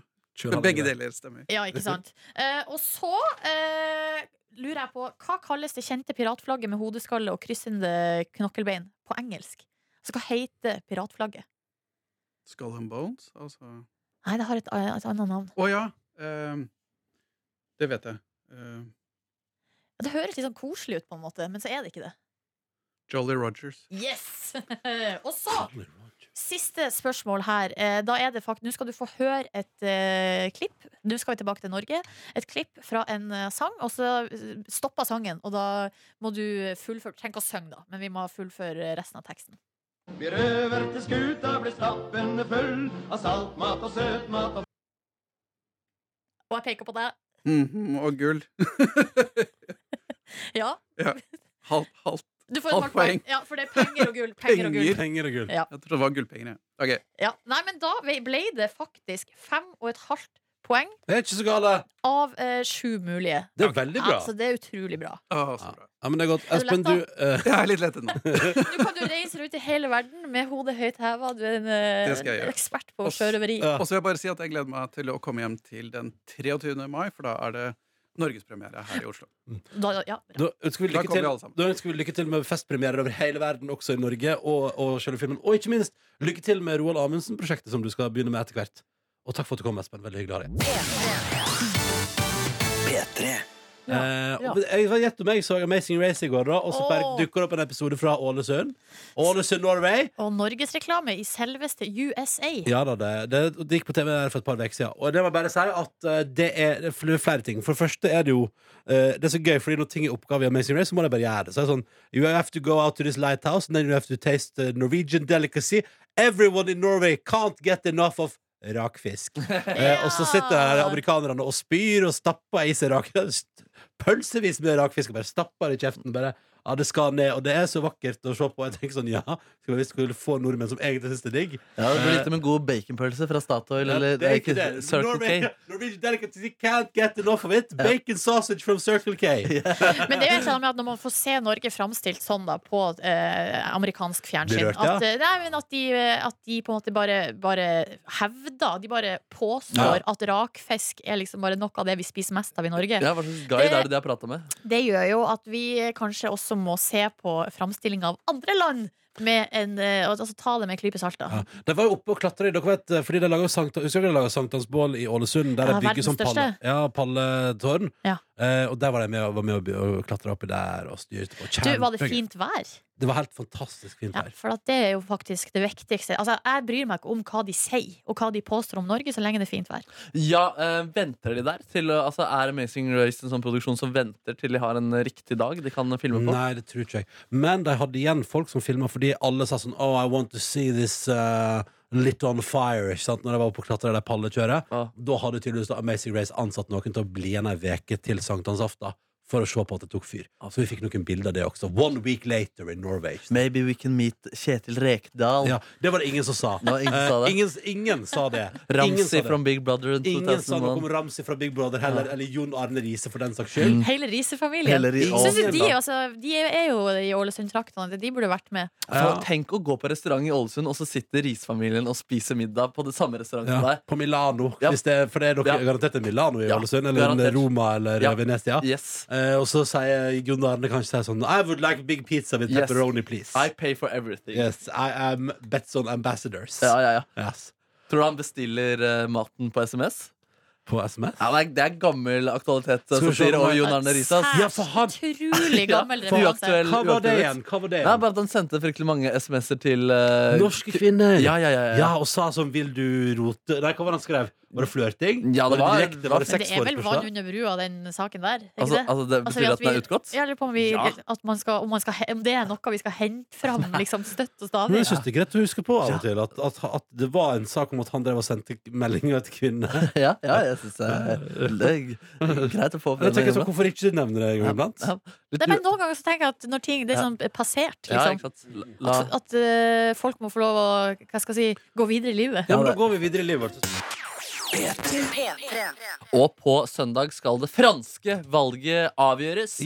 B: begge
L: deler stemmer.
D: Ja, ikke sant? Eh, og så eh, lurer jeg på hva kalles det kjente piratflagget med hodeskalle og kryssende knokkelbein på engelsk? Altså, hva heter piratflagget?
L: Skull and bones, altså.
D: Nei, det har et, eh, et annet navn.
L: Å ja. ehm, det vet jeg. Ehm,
D: Det høres litt sånn koselig ut, på en måte, men så er det ikke det.
L: Jolly Rogers.
D: Yes! og så Siste spørsmål her. Eh, Da er det fakt Nå skal du få høre et eh, klipp. Nå skal vi tilbake til Norge. Et klipp fra en eh, sang, og så eh, stopper sangen. Og da må du fullføre Trenger ikke å synge, da, men vi må fullføre resten av teksten.
M: Vi røver til skuta blir stappende full av saltmat og søtmat og
D: Og jeg peker på deg.
L: Mhm, og gull.
D: Ja.
L: ja. Halvt halvt-
D: Du får et
L: halvt
D: mark-
L: poeng.
D: Ja, for det er penger og gull. Penger og gull.
B: Penger og gull.
D: Ja.
L: Jeg trodde det var gullpenger. jeg. Ok.
D: Ja. Nei, men da ble det faktisk fem og et halvt poeng
B: Det er ikke så gale.
D: av eh, sju mulige.
B: Det er veldig bra.
D: Altså, det er utrolig bra.
B: Ja, men det er godt.
D: Er du
B: Espen, du eh,
D: letta?
L: Jeg er litt lettet nå.
D: Nå kan du reise rundt i hele verden med hodet høyt heva. Du er en eh,
L: Det skal jeg gjøre.
D: ekspert på
L: Og s-
D: sjørøveri.
L: Og så vil jeg bare si at jeg gleder meg til å komme hjem til den 23. mai, for da er det norgespremiere her i Oslo.
D: Da, ja.
B: Da ønsker vi
L: Da
B: lykke
L: kommer
B: til,
L: vi alle sammen.
B: da ønsker vi lykke til med festpremierer over hele verden, også i Norge, og, og selve filmen. Og ikke minst, lykke til med Roald Amundsen-prosjektet som du skal begynne med etter hvert. Og takk for at du kom, Espen. Veldig hyggelig å ha deg. Eh, og jeg var gjett om jeg så Amazing Race i går, da, og så bare
D: Åh.
B: dukker det opp en episode fra Ålesund. Ålesund, Norway.
D: Og norgesreklame i selveste USA.
B: Ja da, det, det, det gikk på TV der for et par uker siden. Og det må jeg bare si at eh, det er det er flere ting. For det første er det jo eh, Det er så gøy, fordi når ting er oppgave i Amazing Race, så må de bare gjøre det. Så er det sånn You have to go out to this lighthouse, and then you have to taste the Norwegian delicacy. Everyone in Norway can't get enough of rakfisk. Eh, og så sitter her amerikanerne og spyr og stapper i seg rak pølsevis med rakfisk og bare stapper det i kjeften. Bare, ja, det skal ned, og det er så vakkert å se på. Jeg tenker sånn, ja, Skulle visst skulle få nordmenn som egentlig syns det er digg.
C: Ja, det blir
B: Eh,
C: litt med god baconpølse fra Statoil
B: ja,
C: eller
B: det er ikke det.
C: Circle
B: Norway-
C: K.
B: Norwegian delicacy can't get enough of it. Bacon sausage from Circle K.
D: Men det er jo et eller annet med at når man får se Norge framstilt sånn da på eh, amerikansk fjernsyn
B: Berørt, ja.
D: at, eh, nei, men at, de, eh, at de på en måte bare, bare hevder, de bare påstår
C: Ja.
D: at rakfisk er liksom bare noe av det vi spiser mest av i Norge.
C: Ja, hva slags guide er det de har prata med?
D: Det gjør jo at vi kanskje også må se på framstilling av andre land. Med en, eh, altså ta det med en klype salt, da.
B: De var jo oppe og klatra i dere vet, eh, fordi de laget sankt, Husker dere de laga sankthansbål i Ålesund? Der de
D: Ja,
B: bygger
D: verdens
B: sånn palle,
D: største.
B: ja, palletårn.
D: Ja.
B: Eh, og der var de med, og- var med og, by- og klatra oppi der og styrte på.
D: Du, var det
B: Kjempegøy.
D: fint vær?
B: Det var helt fantastisk fint vær.
D: For at det er jo faktisk det viktigste. Altså, jeg bryr meg ikke om hva de sier og hva de påstår om Norge, så lenge det er fint vær.
C: Ja, eh, venter de der? Til, å- altså, er Amazing Race en sånn produksjon som venter til de har en riktig dag de kan filme på?
B: Nei, det tror ikke jeg. Men de hadde igjen folk som filma fordi alle sa sånn Oh, I want to see this uh, lit on fire. Ikke sant? Når de var oppe og klatra i det pallekjøret. Da hadde tydeligvis da Amazing Race ansatt noen til å bli igjen ei uke til sankthansaften for å se på at det tok fyr. Så vi fikk noen bilder av det også. One week later in Norway.
C: Maybe we can meet Kjetil Rekdal.
B: Ja, det var det ingen som sa.
C: Det var ingen som sa
B: Eh,
C: det.
B: ingen, ingen sa det.
C: Ramsi
B: Ingen sa det.
C: from Big Brother in
B: Ingen sa noe om
C: 2001.
B: Ramsi fra Big Brother heller,
C: Ja. Mm.
B: eller Jon Arne Riise, for den saks skyld.
D: Hele Riise-familien.
C: Hele Ri-
D: Synes jo
C: Å.
D: de, altså, de er jo i Ålesund-traktene. De burde vært med.
C: For Tenk å gå på restaurant i Ålesund, og så sitter Risfamilien og spiser middag på det samme restauranten
B: Ja,
C: der.
B: på Milano, hvis det, er- for det er dere garantert en Milano i
C: Ja,
B: Ålesund, eller en eh,
C: garantert.
B: Roma eller
C: Ja.
B: Venezia. Eh, og så sier Jon Arne kanskje sier sånn I would like big pizza with
C: Yes.
B: pepperoni, please.
C: I pay for everything.
B: Yes, I am Betson Ambassadors.
C: Ja, ja, ja.
B: Yes.
C: Tror du han bestiller eh, maten på SMS?
B: På SMS?
C: Ja, nei, det er gammel aktualitet, eh,
B: Skal vi
C: som
B: se
C: sier
B: om
C: og
B: jeg-
C: Jon Arne Risas.
B: Ja, for han-
D: Utrolig gammel
C: Ja,
D: referanse.
C: uaktuell-
B: Hva var det
C: uaktuell.
B: igjen? Hva var det igjen?
C: Nei, bare at han sendte fryktelig mange SMS-er til eh,
B: Norske kvinner.
C: Ja, ja, ja, ja.
B: Ja, og sa sånn 'vil du rote' Nei, hva var det han skrev? Var det flørting?
C: Ja, det var-
B: direkte, var det
D: Men det er vel vann
B: sexforespørsler?
D: under brua, den saken der? er ikke
B: Altså- altså, det betyr
D: vi-
B: at den er utgått?
D: Ja, jeg lurer på om, vi,
B: Ja.
D: at man skal, om, man skal, he- om det er noe vi skal hente fram liksom, støtt og
B: Men
D: stadig.
B: jeg synes det er greit å huske på av og til at, at, at det var en sak om at han drev og sendte meldinger til kvinner.
C: Ja, ja, jeg synes det er- det er greit å få
B: Jeg tenker sånn, Hvorfor ikke nevne det en gang iblant?
C: Ja.
D: Nei, men noen ganger så tenker jeg at når ting det er
B: Ja.
D: sånn passert,
B: Ja, ikke
D: liksom,
B: sant. La-
D: at, at eh, folk må få lov å hva skal jeg si, gå videre i livet.
B: Ja, men da går vi videre i livet vårt.
C: Og på søndag skal det franske valget avgjøres.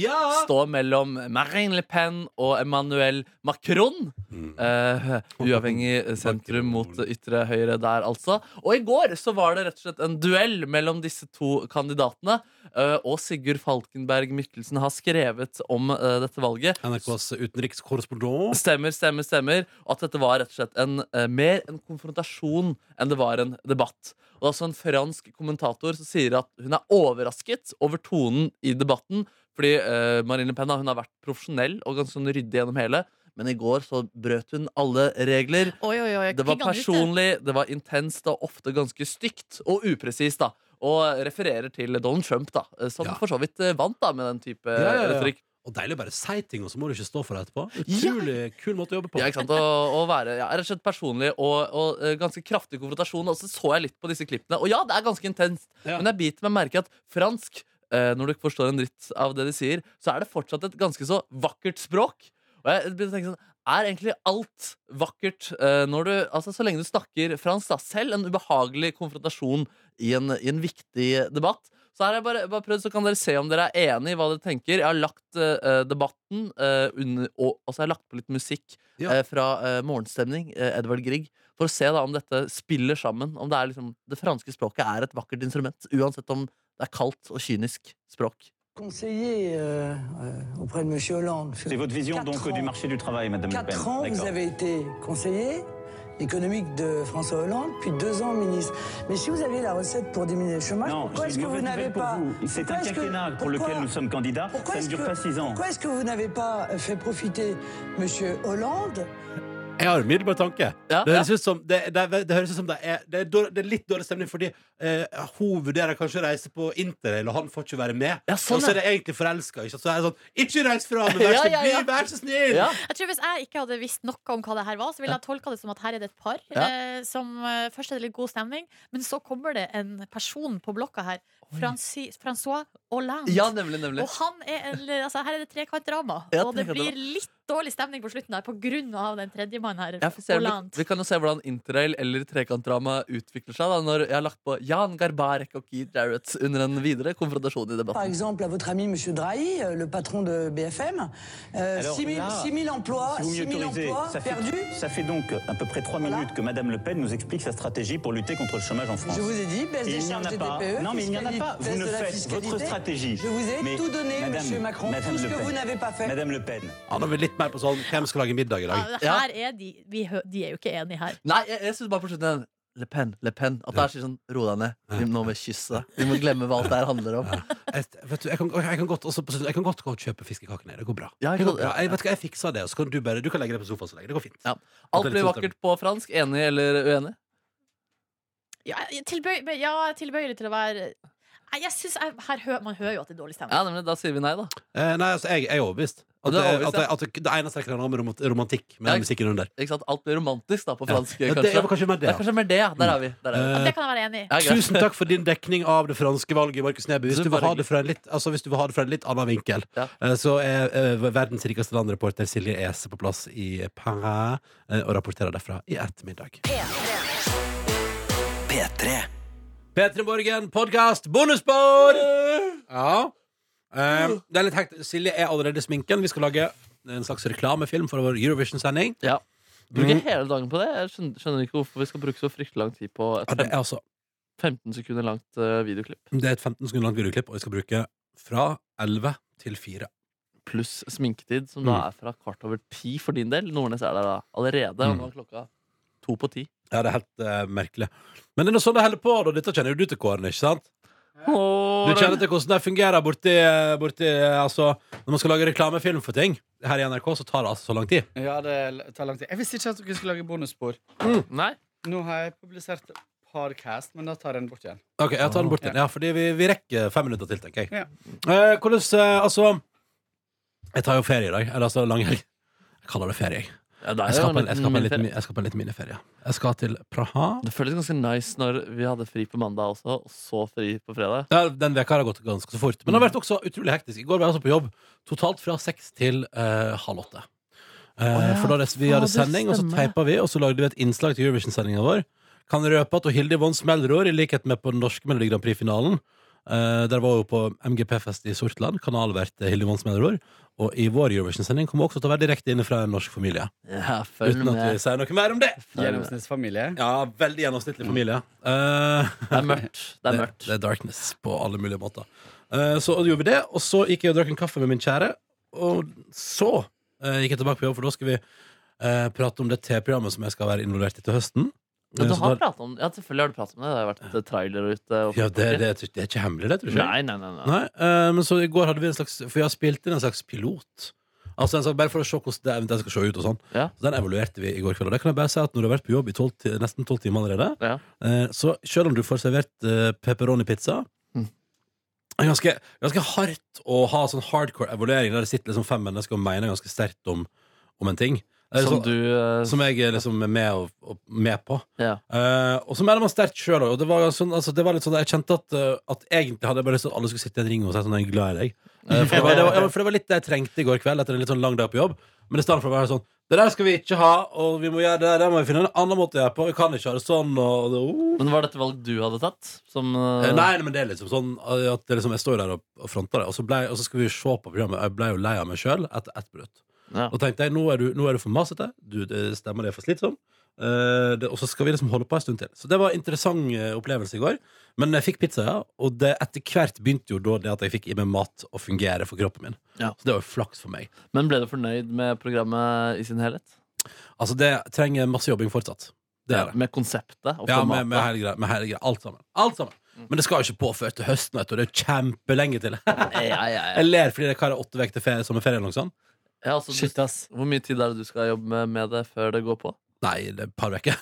C: Stå mellom Marine Le Pen og Emmanuel Macron. Eh, uavhengig sentrum mot ytre høyre der, altså. Og i går så var det rett og slett en duell mellom disse to kandidatene. eh, og Sigurd Falkenberg Mikkelsen har skrevet om eh, dette valget.
B: NRKs utenrikskorrespondent.
C: Stemmer, stemmer, stemmer. Og at dette var rett og slett en, eh, mer en konfrontasjon enn det var en debatt. Og det er altså en fransk kommentator som sier at hun er overrasket over tonen i debatten. Fordi eh, Marine Le Pen da, hun har vært profesjonell og ganske sånn ryddig gjennom hele. Men i går så brøt hun alle regler.
D: Oi, oi, oi,
C: det var
D: klikk han ut, det.
C: personlig, det var intenst og ofte ganske stygt og upresist. da Og refererer til Donald Trump, da som for så vidt eh, vant da med den type
B: Ja, ja, ja.
C: retorikk.
B: Og deilig å bare si ting, og så må du ikke stå for det etterpå. Utrolig kul måte å jobbe på.
C: Ja, ikke sant? Og, og være ja, rett og slett personlig og, og eh, ganske kraftig konfrontasjon. Og så så jeg litt på disse klippene, og ja, det er ganske intenst. Men jeg biter meg merke i at fransk, eh, når du ikke forstår en dritt av det de sier, så er det fortsatt et ganske så vakkert språk. Og jeg begynner å tenke sånn er egentlig alt vakkert eh, når du, altså så lenge du snakker fransk? da, Selv en ubehagelig konfrontasjon i en, i en viktig debatt. Så her har jeg bare, bare prøvd, så kan dere se om dere er enig i hva dere tenker. Jeg har lagt eh, debatten eh, under, og, og så har jeg lagt på litt musikk eh, fra eh, Morgenstemning, eh, Edvard Grieg, for å se da om dette spiller sammen. Om det er liksom Det franske språket er et vakkert instrument, uansett om det er kaldt og kynisk språk.
N: Conseiller euh, euh, auprès de Monsieur Hollande.
O: C'est votre vision
N: Quatre
O: donc
N: ans.
O: du marché du travail, Madame Le Pen.
N: Quatre ans, vous
O: D'accord.
N: avez été conseiller économique de François Hollande, puis deux ans ministre. Mais si vous avez la recette pour diminuer le chômage,
O: Non,
N: pourquoi
O: j'ai
N: est-ce
O: une
N: que vous
O: mauvaise
N: n'avez
O: nouvelle pour
N: pas
O: vous. C'est
N: Pourquoi
O: un
N: est-ce que-
O: quinquennat pour lequel
N: pourquoi-
O: nous sommes candidats.
N: pourquoi
O: Ça ne
N: est-ce
O: dure
N: que-
O: pas six ans.
N: Pourquoi est-ce que vous n'avez pas euh, fait profiter Monsieur Hollande
B: Jeg har umiddelbar tanke.
N: Ja,
B: det, høres ut som, det, det, det høres ut som det er, det, er dårlig, det er litt dårlig stemning, fordi eh, hun vurderer kanskje å reise på interrail, og han får ikke være med.
C: sånn,
B: og så er
C: ja.
B: det egentlig forelska. Ikke, sant? så er det sånn Ikke reis fra meg, vær
D: Ja,
B: så
D: ja, ja.
B: bli, vær så snill!
D: Jeg tror Hvis jeg ikke hadde visst noe om hva det her var, Så ville jeg tolka det som at her er det et par.
B: Ja.
D: Eh, som eh, Først er det litt god stemning, men så kommer det en person på blokka her. Franci, Francois Hollande.
C: Ja, nemlig, nemlig.
D: Og han er, eller, altså, her er det trekantdrama.
C: Ja,
D: og det
C: trekantdrama.
D: blir litt dårlig stemning på slutten der på grunn av den tredjemannen her.
C: Ja, for ser du,
D: Hollande.
C: vi kan jo se hvordan interrail eller trekantdrama utvikler seg da, når jeg har lagt på Jan Garbarek og Keith Jarrett under en videre konfrontasjon i
N: Par
C: debatten.
N: exemple, à votre ami Monsieur Drahi, euh, le patron de BFM, euh,
O: Alors
N: 6 000
O: là,
N: 6 000 emplois,
O: si vous
N: 6
O: m'y
N: 000
O: autorisez,
N: emplois
O: ça fait,
N: perdus.
O: ça fait donc à peu près trois minutes que Madame Le Pen nous explique sa stratégie pour lutter contre le chômage en France.
N: Je vous ai dit, baisse
O: Et
N: des
O: il n'y en
N: charges
O: a
N: des
O: pas.
N: TPE,
O: Non, mais il n'y en a pas. Vous
N: baisse
O: ne
N: de la
O: faites
N: fiscalité.
O: votre stratégie.
N: Je vous ai
O: Mais
N: tout donné,
O: Madame-
N: Monsieur Macron,
O: Madame
N: tout ce
O: Le
N: que
O: Pen.
N: vous n'avez pas fait.
O: Madame Le Pen.
B: Ja, nå blir det litt mer på sånn Hvem skal lage middag i dag?
D: Ja, Her er de, vi, hø- de er jo ikke enige her.
C: Nei, jeg, jeg synes bare på slutten den Le Pen, Le Pen. At det er sånn, ro deg ned. Vi må vi kysse. Vi må glemme hva alt det her handler om.
B: Jeg, vet du, jeg, kan, jeg, kan godt, også, på slutten- jeg kan godt gå og kjøpe fiskekakene. Det går bra.
C: Ja,
B: det
C: ikke
B: går
C: sant?
B: bra. Jeg, vet du hva, jeg fikser det, og så kan du bare Du kan legge deg på sofaen så lenge. Det sånn går fint.
C: Alt blir vakkert på fransk. Enig eller uenig?
D: Ja, jeg tilbøy, men ja, jeg er tilbøyelig til å være Nei, jeg synes jeg, her hø, Man hører jo at det er dårlig stemning.
C: Ja, nemlig, Da sier vi nei, da.
B: Eh, nei, altså, jeg, jeg er overbevist. At,
C: Du er
B: det-
C: overbevist,
B: at,
C: ja.
B: at, det- det eneste jeg kan ha med romant- romantikk, med
C: Ja,
B: den musikken under.
C: Ikke sant? Alt blir romantisk da på
B: Ja.
C: fransk.
B: Ja, det
C: kanskje.
B: er vel kanskje mer det,
C: Det er
B: ja.
C: kanskje mer det, ja. Der er vi.
B: Eh,
C: Der er vi.
D: Ja, det kan jeg være enig i.
C: Ja, greit.
B: Tusen takk for din dekning av det franske valget, Markus Neby. Hvis
C: Det
B: du
C: var
B: vil ha det fra en litt, altså, hvis du vil ha det fra en litt annen vinkel, eh, så er eh, verdens rikeste landreporter Silje Ese på plass i Paris eh, og rapporterer derfra i ettermiddag.
C: P3.
B: P3 Morgen, podkast, bonusbord! Ja. Eh, det er litt hekt. Silje er allerede i sminken. Vi skal lage en slags reklamefilm for vår Eurovision-sending.
C: Ja. Bruker
B: Mm.
C: hele dagen på det. Jeg skjønner, skjønner ikke hvorfor vi skal bruke så fryktelig lang tid på et
B: Ja, det er altså
C: 15 sekunder langt eh, videoklipp.
B: Det er et 15 sekunder langt videoklipp, og vi skal bruke fra 11 til 4.
C: Pluss sminketid, som da
B: Mm.
C: er fra kvart over ti for din del. Nordnes er der da allerede, og
B: Mm.
C: nå er klokka to på ti.
B: Ja, det er helt eh, merkelig. Men det er noe sånn det holder på, da. Dette kjenner jo du til, Kåren, ikke sant? Du kjenner til hvordan det fungerer borti, eh, borti altså, Når man skal lage reklamefilm for ting her i NRK, så tar det altså så lang tid.
P: Ja, det tar lang tid. Jeg visste ikke at dere skulle lage bonusspor. Nå har jeg publisert podcast, men da tar jeg den bort igjen.
B: Ok, jeg tar den bort igjen.
P: Ja.
B: Ja, fordi vi, vi rekker fem minutter til, tenker jeg.
P: Ja.
B: Eh, hvordan eh, Altså Jeg tar jo ferie i dag. Eller altså langhelg. Jeg kaller det ferie, jeg.
C: Ja, det er
B: Jeg
C: jo
B: skal
C: en
B: på en- jeg
C: liten
B: skal på en
C: miniferie.
B: liten- jeg skal på en liten miniferie. Jeg skal til Praha.
C: Det føles ganske nice når vi hadde fri på mandag også, og så fri på fredag.
B: Ja, den veka har gått ganske så fort. Men det har vært også utrolig hektisk. I går var jeg altså på jobb totalt fra seks til eh, halv åtte. Eh, for da res- vi hadde
Q: fader,
B: sending, og så
Q: stemmer det.
B: teipa vi, og så lagde vi et innslag til Eurovision-sendinga vår. Kan røpe at og Hilde vant Smellerår, i likhet med på den norske Melodi Grand Prix-finalen. Eh, der var hun på MGP-fest i Sortland, kanalvert eh, Hilde vant Smellerår. Og i vår Eurovision-sending kommer hun også til å være direkte inne fra en norsk familie.
C: Ja, følg
B: Uten at
C: med.
B: vi sier noe mer om det!
P: Gjennomsnittsfamilie.
B: Ja, veldig gjennomsnittlig familie. Eh, det
C: er mørkt. Det er mørkt.
B: Det, er darkness på alle mulige måter. Eh, så gjorde vi det, og så gikk jeg og drakk en kaffe med min kjære. Og så eh, gikk jeg tilbake på jobb, for da skal vi eh, prate om det TV-programmet som jeg skal være involvert i til høsten.
C: Ja,
B: Eh,
C: du
B: så
C: har
B: da-
C: pratet om Ja, selvfølgelig har du pratet om det. Det har vært eh, trailer ute. og-
B: ja, det, det, det er ikke hemmelig, det, tror jeg.
C: Nei, nei, nei, nei.
B: Nei, eh, men så i går hadde vi en slags For jeg har spilt inn en slags pilot Altså en slags, Bare for å se hvordan det eventuelt skal se ut og sånn Så den evaluerte vi i går kveld Og det kan jeg bare si at når du har vært på jobb i 12, ti- nesten 12 timer allerede eh, Så selv om du får servert eh, pepperoni-pizza
C: Mm.
B: er ganske, ganske hardt å ha sånn hardcore evaluering Der det sitter liksom fem mennesker og mener ganske sterkt om, om en ting Det er
C: Som
B: sånn-
C: du eh,
B: som jeg er liksom er med, og, og med på.
C: Ja.
B: Eh, og så mener man sterkt sjøl òg. Det, var sånn, altså, det var litt sånn jeg kjente at, eh, at egentlig hadde jeg bare lyst til at alle skulle sitte i en ring og si sånn, jeg er glad i deg. Eh, for, det var, det var, ja, men for det var litt det jeg trengte i går kveld etter en litt sånn lang dag på jobb. Men i stedet for å være sånn Det der skal vi ikke ha, og vi må gjøre det, der må vi finne en annen måte å gjøre det på. Vi kan ikke ha det sånn og det, oh.
C: Men var dette valg du hadde tatt? Som
B: Eh, Nei, nei, men det er liksom sånn eh, at det er liksom, jeg står der og, og fronter det, og så, ble, og så skal vi se på programmet. Jeg ble jo lei av meg sjøl etter ett minutt. Da tenkte jeg nå er du, nå er du for masete, du, det stemmer det er for slitsom. Eh, det, og så skal vi liksom holde på en stund til. Så det var en interessant eh, opplevelse i går. Men jeg fikk pizza, ja, og det etter hvert begynte jo da det at jeg fikk i meg mat å fungere for kroppen min. Så det var jo flaks for meg.
C: Men ble du fornøyd med programmet i sin helhet?
B: Altså, det trenger masse jobbing fortsatt. Det
C: Ja,
B: er det.
C: med konseptet og
B: Ja,
C: formatet.
B: med, med hele greia. Med hele greia. Alt sammen. Alt sammen.
C: Mm.
B: Men det skal jo ikke på før til høsten, vet du. og Det er jo kjempelenge til. Jeg ler fordi det er hva er det, åtte uker til ferie, sommerferien eller noe sånt.
C: Ja, altså, du, Hvor mye tid er det du skal jobbe med, med det før det går på?
B: Nei, det er et par uker.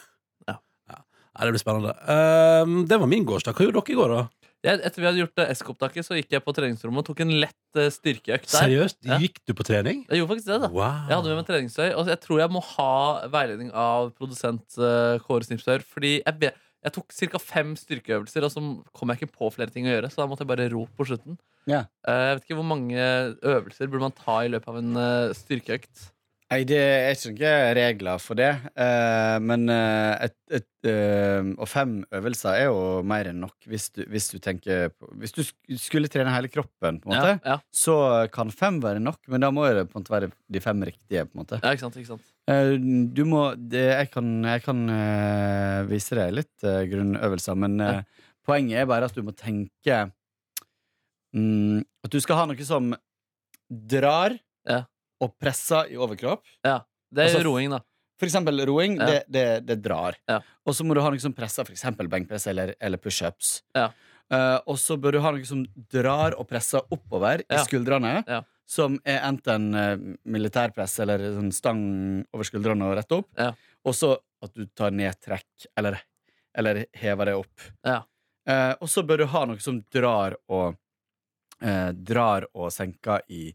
B: Nei, det blir spennende. Ehm, det var min gårsdag. Hva gjorde dere i går, da?
C: Jeg, etter vi hadde gjort eh, SK-opptaket, så gikk jeg på treningsrommet og tok en lett eh, styrkeøkt der.
B: Seriøst?
C: Ja.
B: Gikk du på trening?
C: Jeg gjorde faktisk det, da.
B: Wow.
C: Jeg hadde med meg treningstøy. Og jeg tror jeg må ha veiledning av produsent eh, Kåre Snipsør. Fordi jeg, be, jeg tok ca. fem styrkeøvelser, og så kom jeg ikke på flere ting å gjøre. Så da måtte jeg bare ro på slutten.
P: Ja.
C: Eh, jeg vet ikke hvor mange øvelser burde man ta i løpet av en eh, styrkeøkt.
P: Nei, det er ikke noen regler for det. eh, men eh, et, et, eh, Og fem øvelser er jo mer enn nok hvis du, hvis du tenker på, Hvis du sk- skulle trene hele kroppen, på en måte,
C: Ja, ja.
P: så kan fem være nok, men da må det på en måte være de fem riktige. på en måte
C: Ja, ikke sant, ikke sant?
P: Eh, Du må det, jeg, kan, jeg kan eh, vise deg litt eh, grunnøvelser, men eh, poenget er bare at du må tenke mm, At du skal ha noe som drar og presser i overkropp.
C: Det er
P: Altså,
C: roing, da.
P: For eksempel roing,
C: Ja.
P: det, det, det drar. Og så må du ha noe som presser, for eksempel benkpress eller, eller pushups.
C: Ja.
P: Eh, og så bør du ha noe som drar og presser oppover i
C: Ja.
P: skuldrene.
C: Ja.
P: Som er enten eh, militærpress eller sånn stang over skuldrene og rett opp. Og så at du tar ned trekk, eller, eller hever det opp. Eh, og så bør du ha noe som drar og eh, Drar og senker i,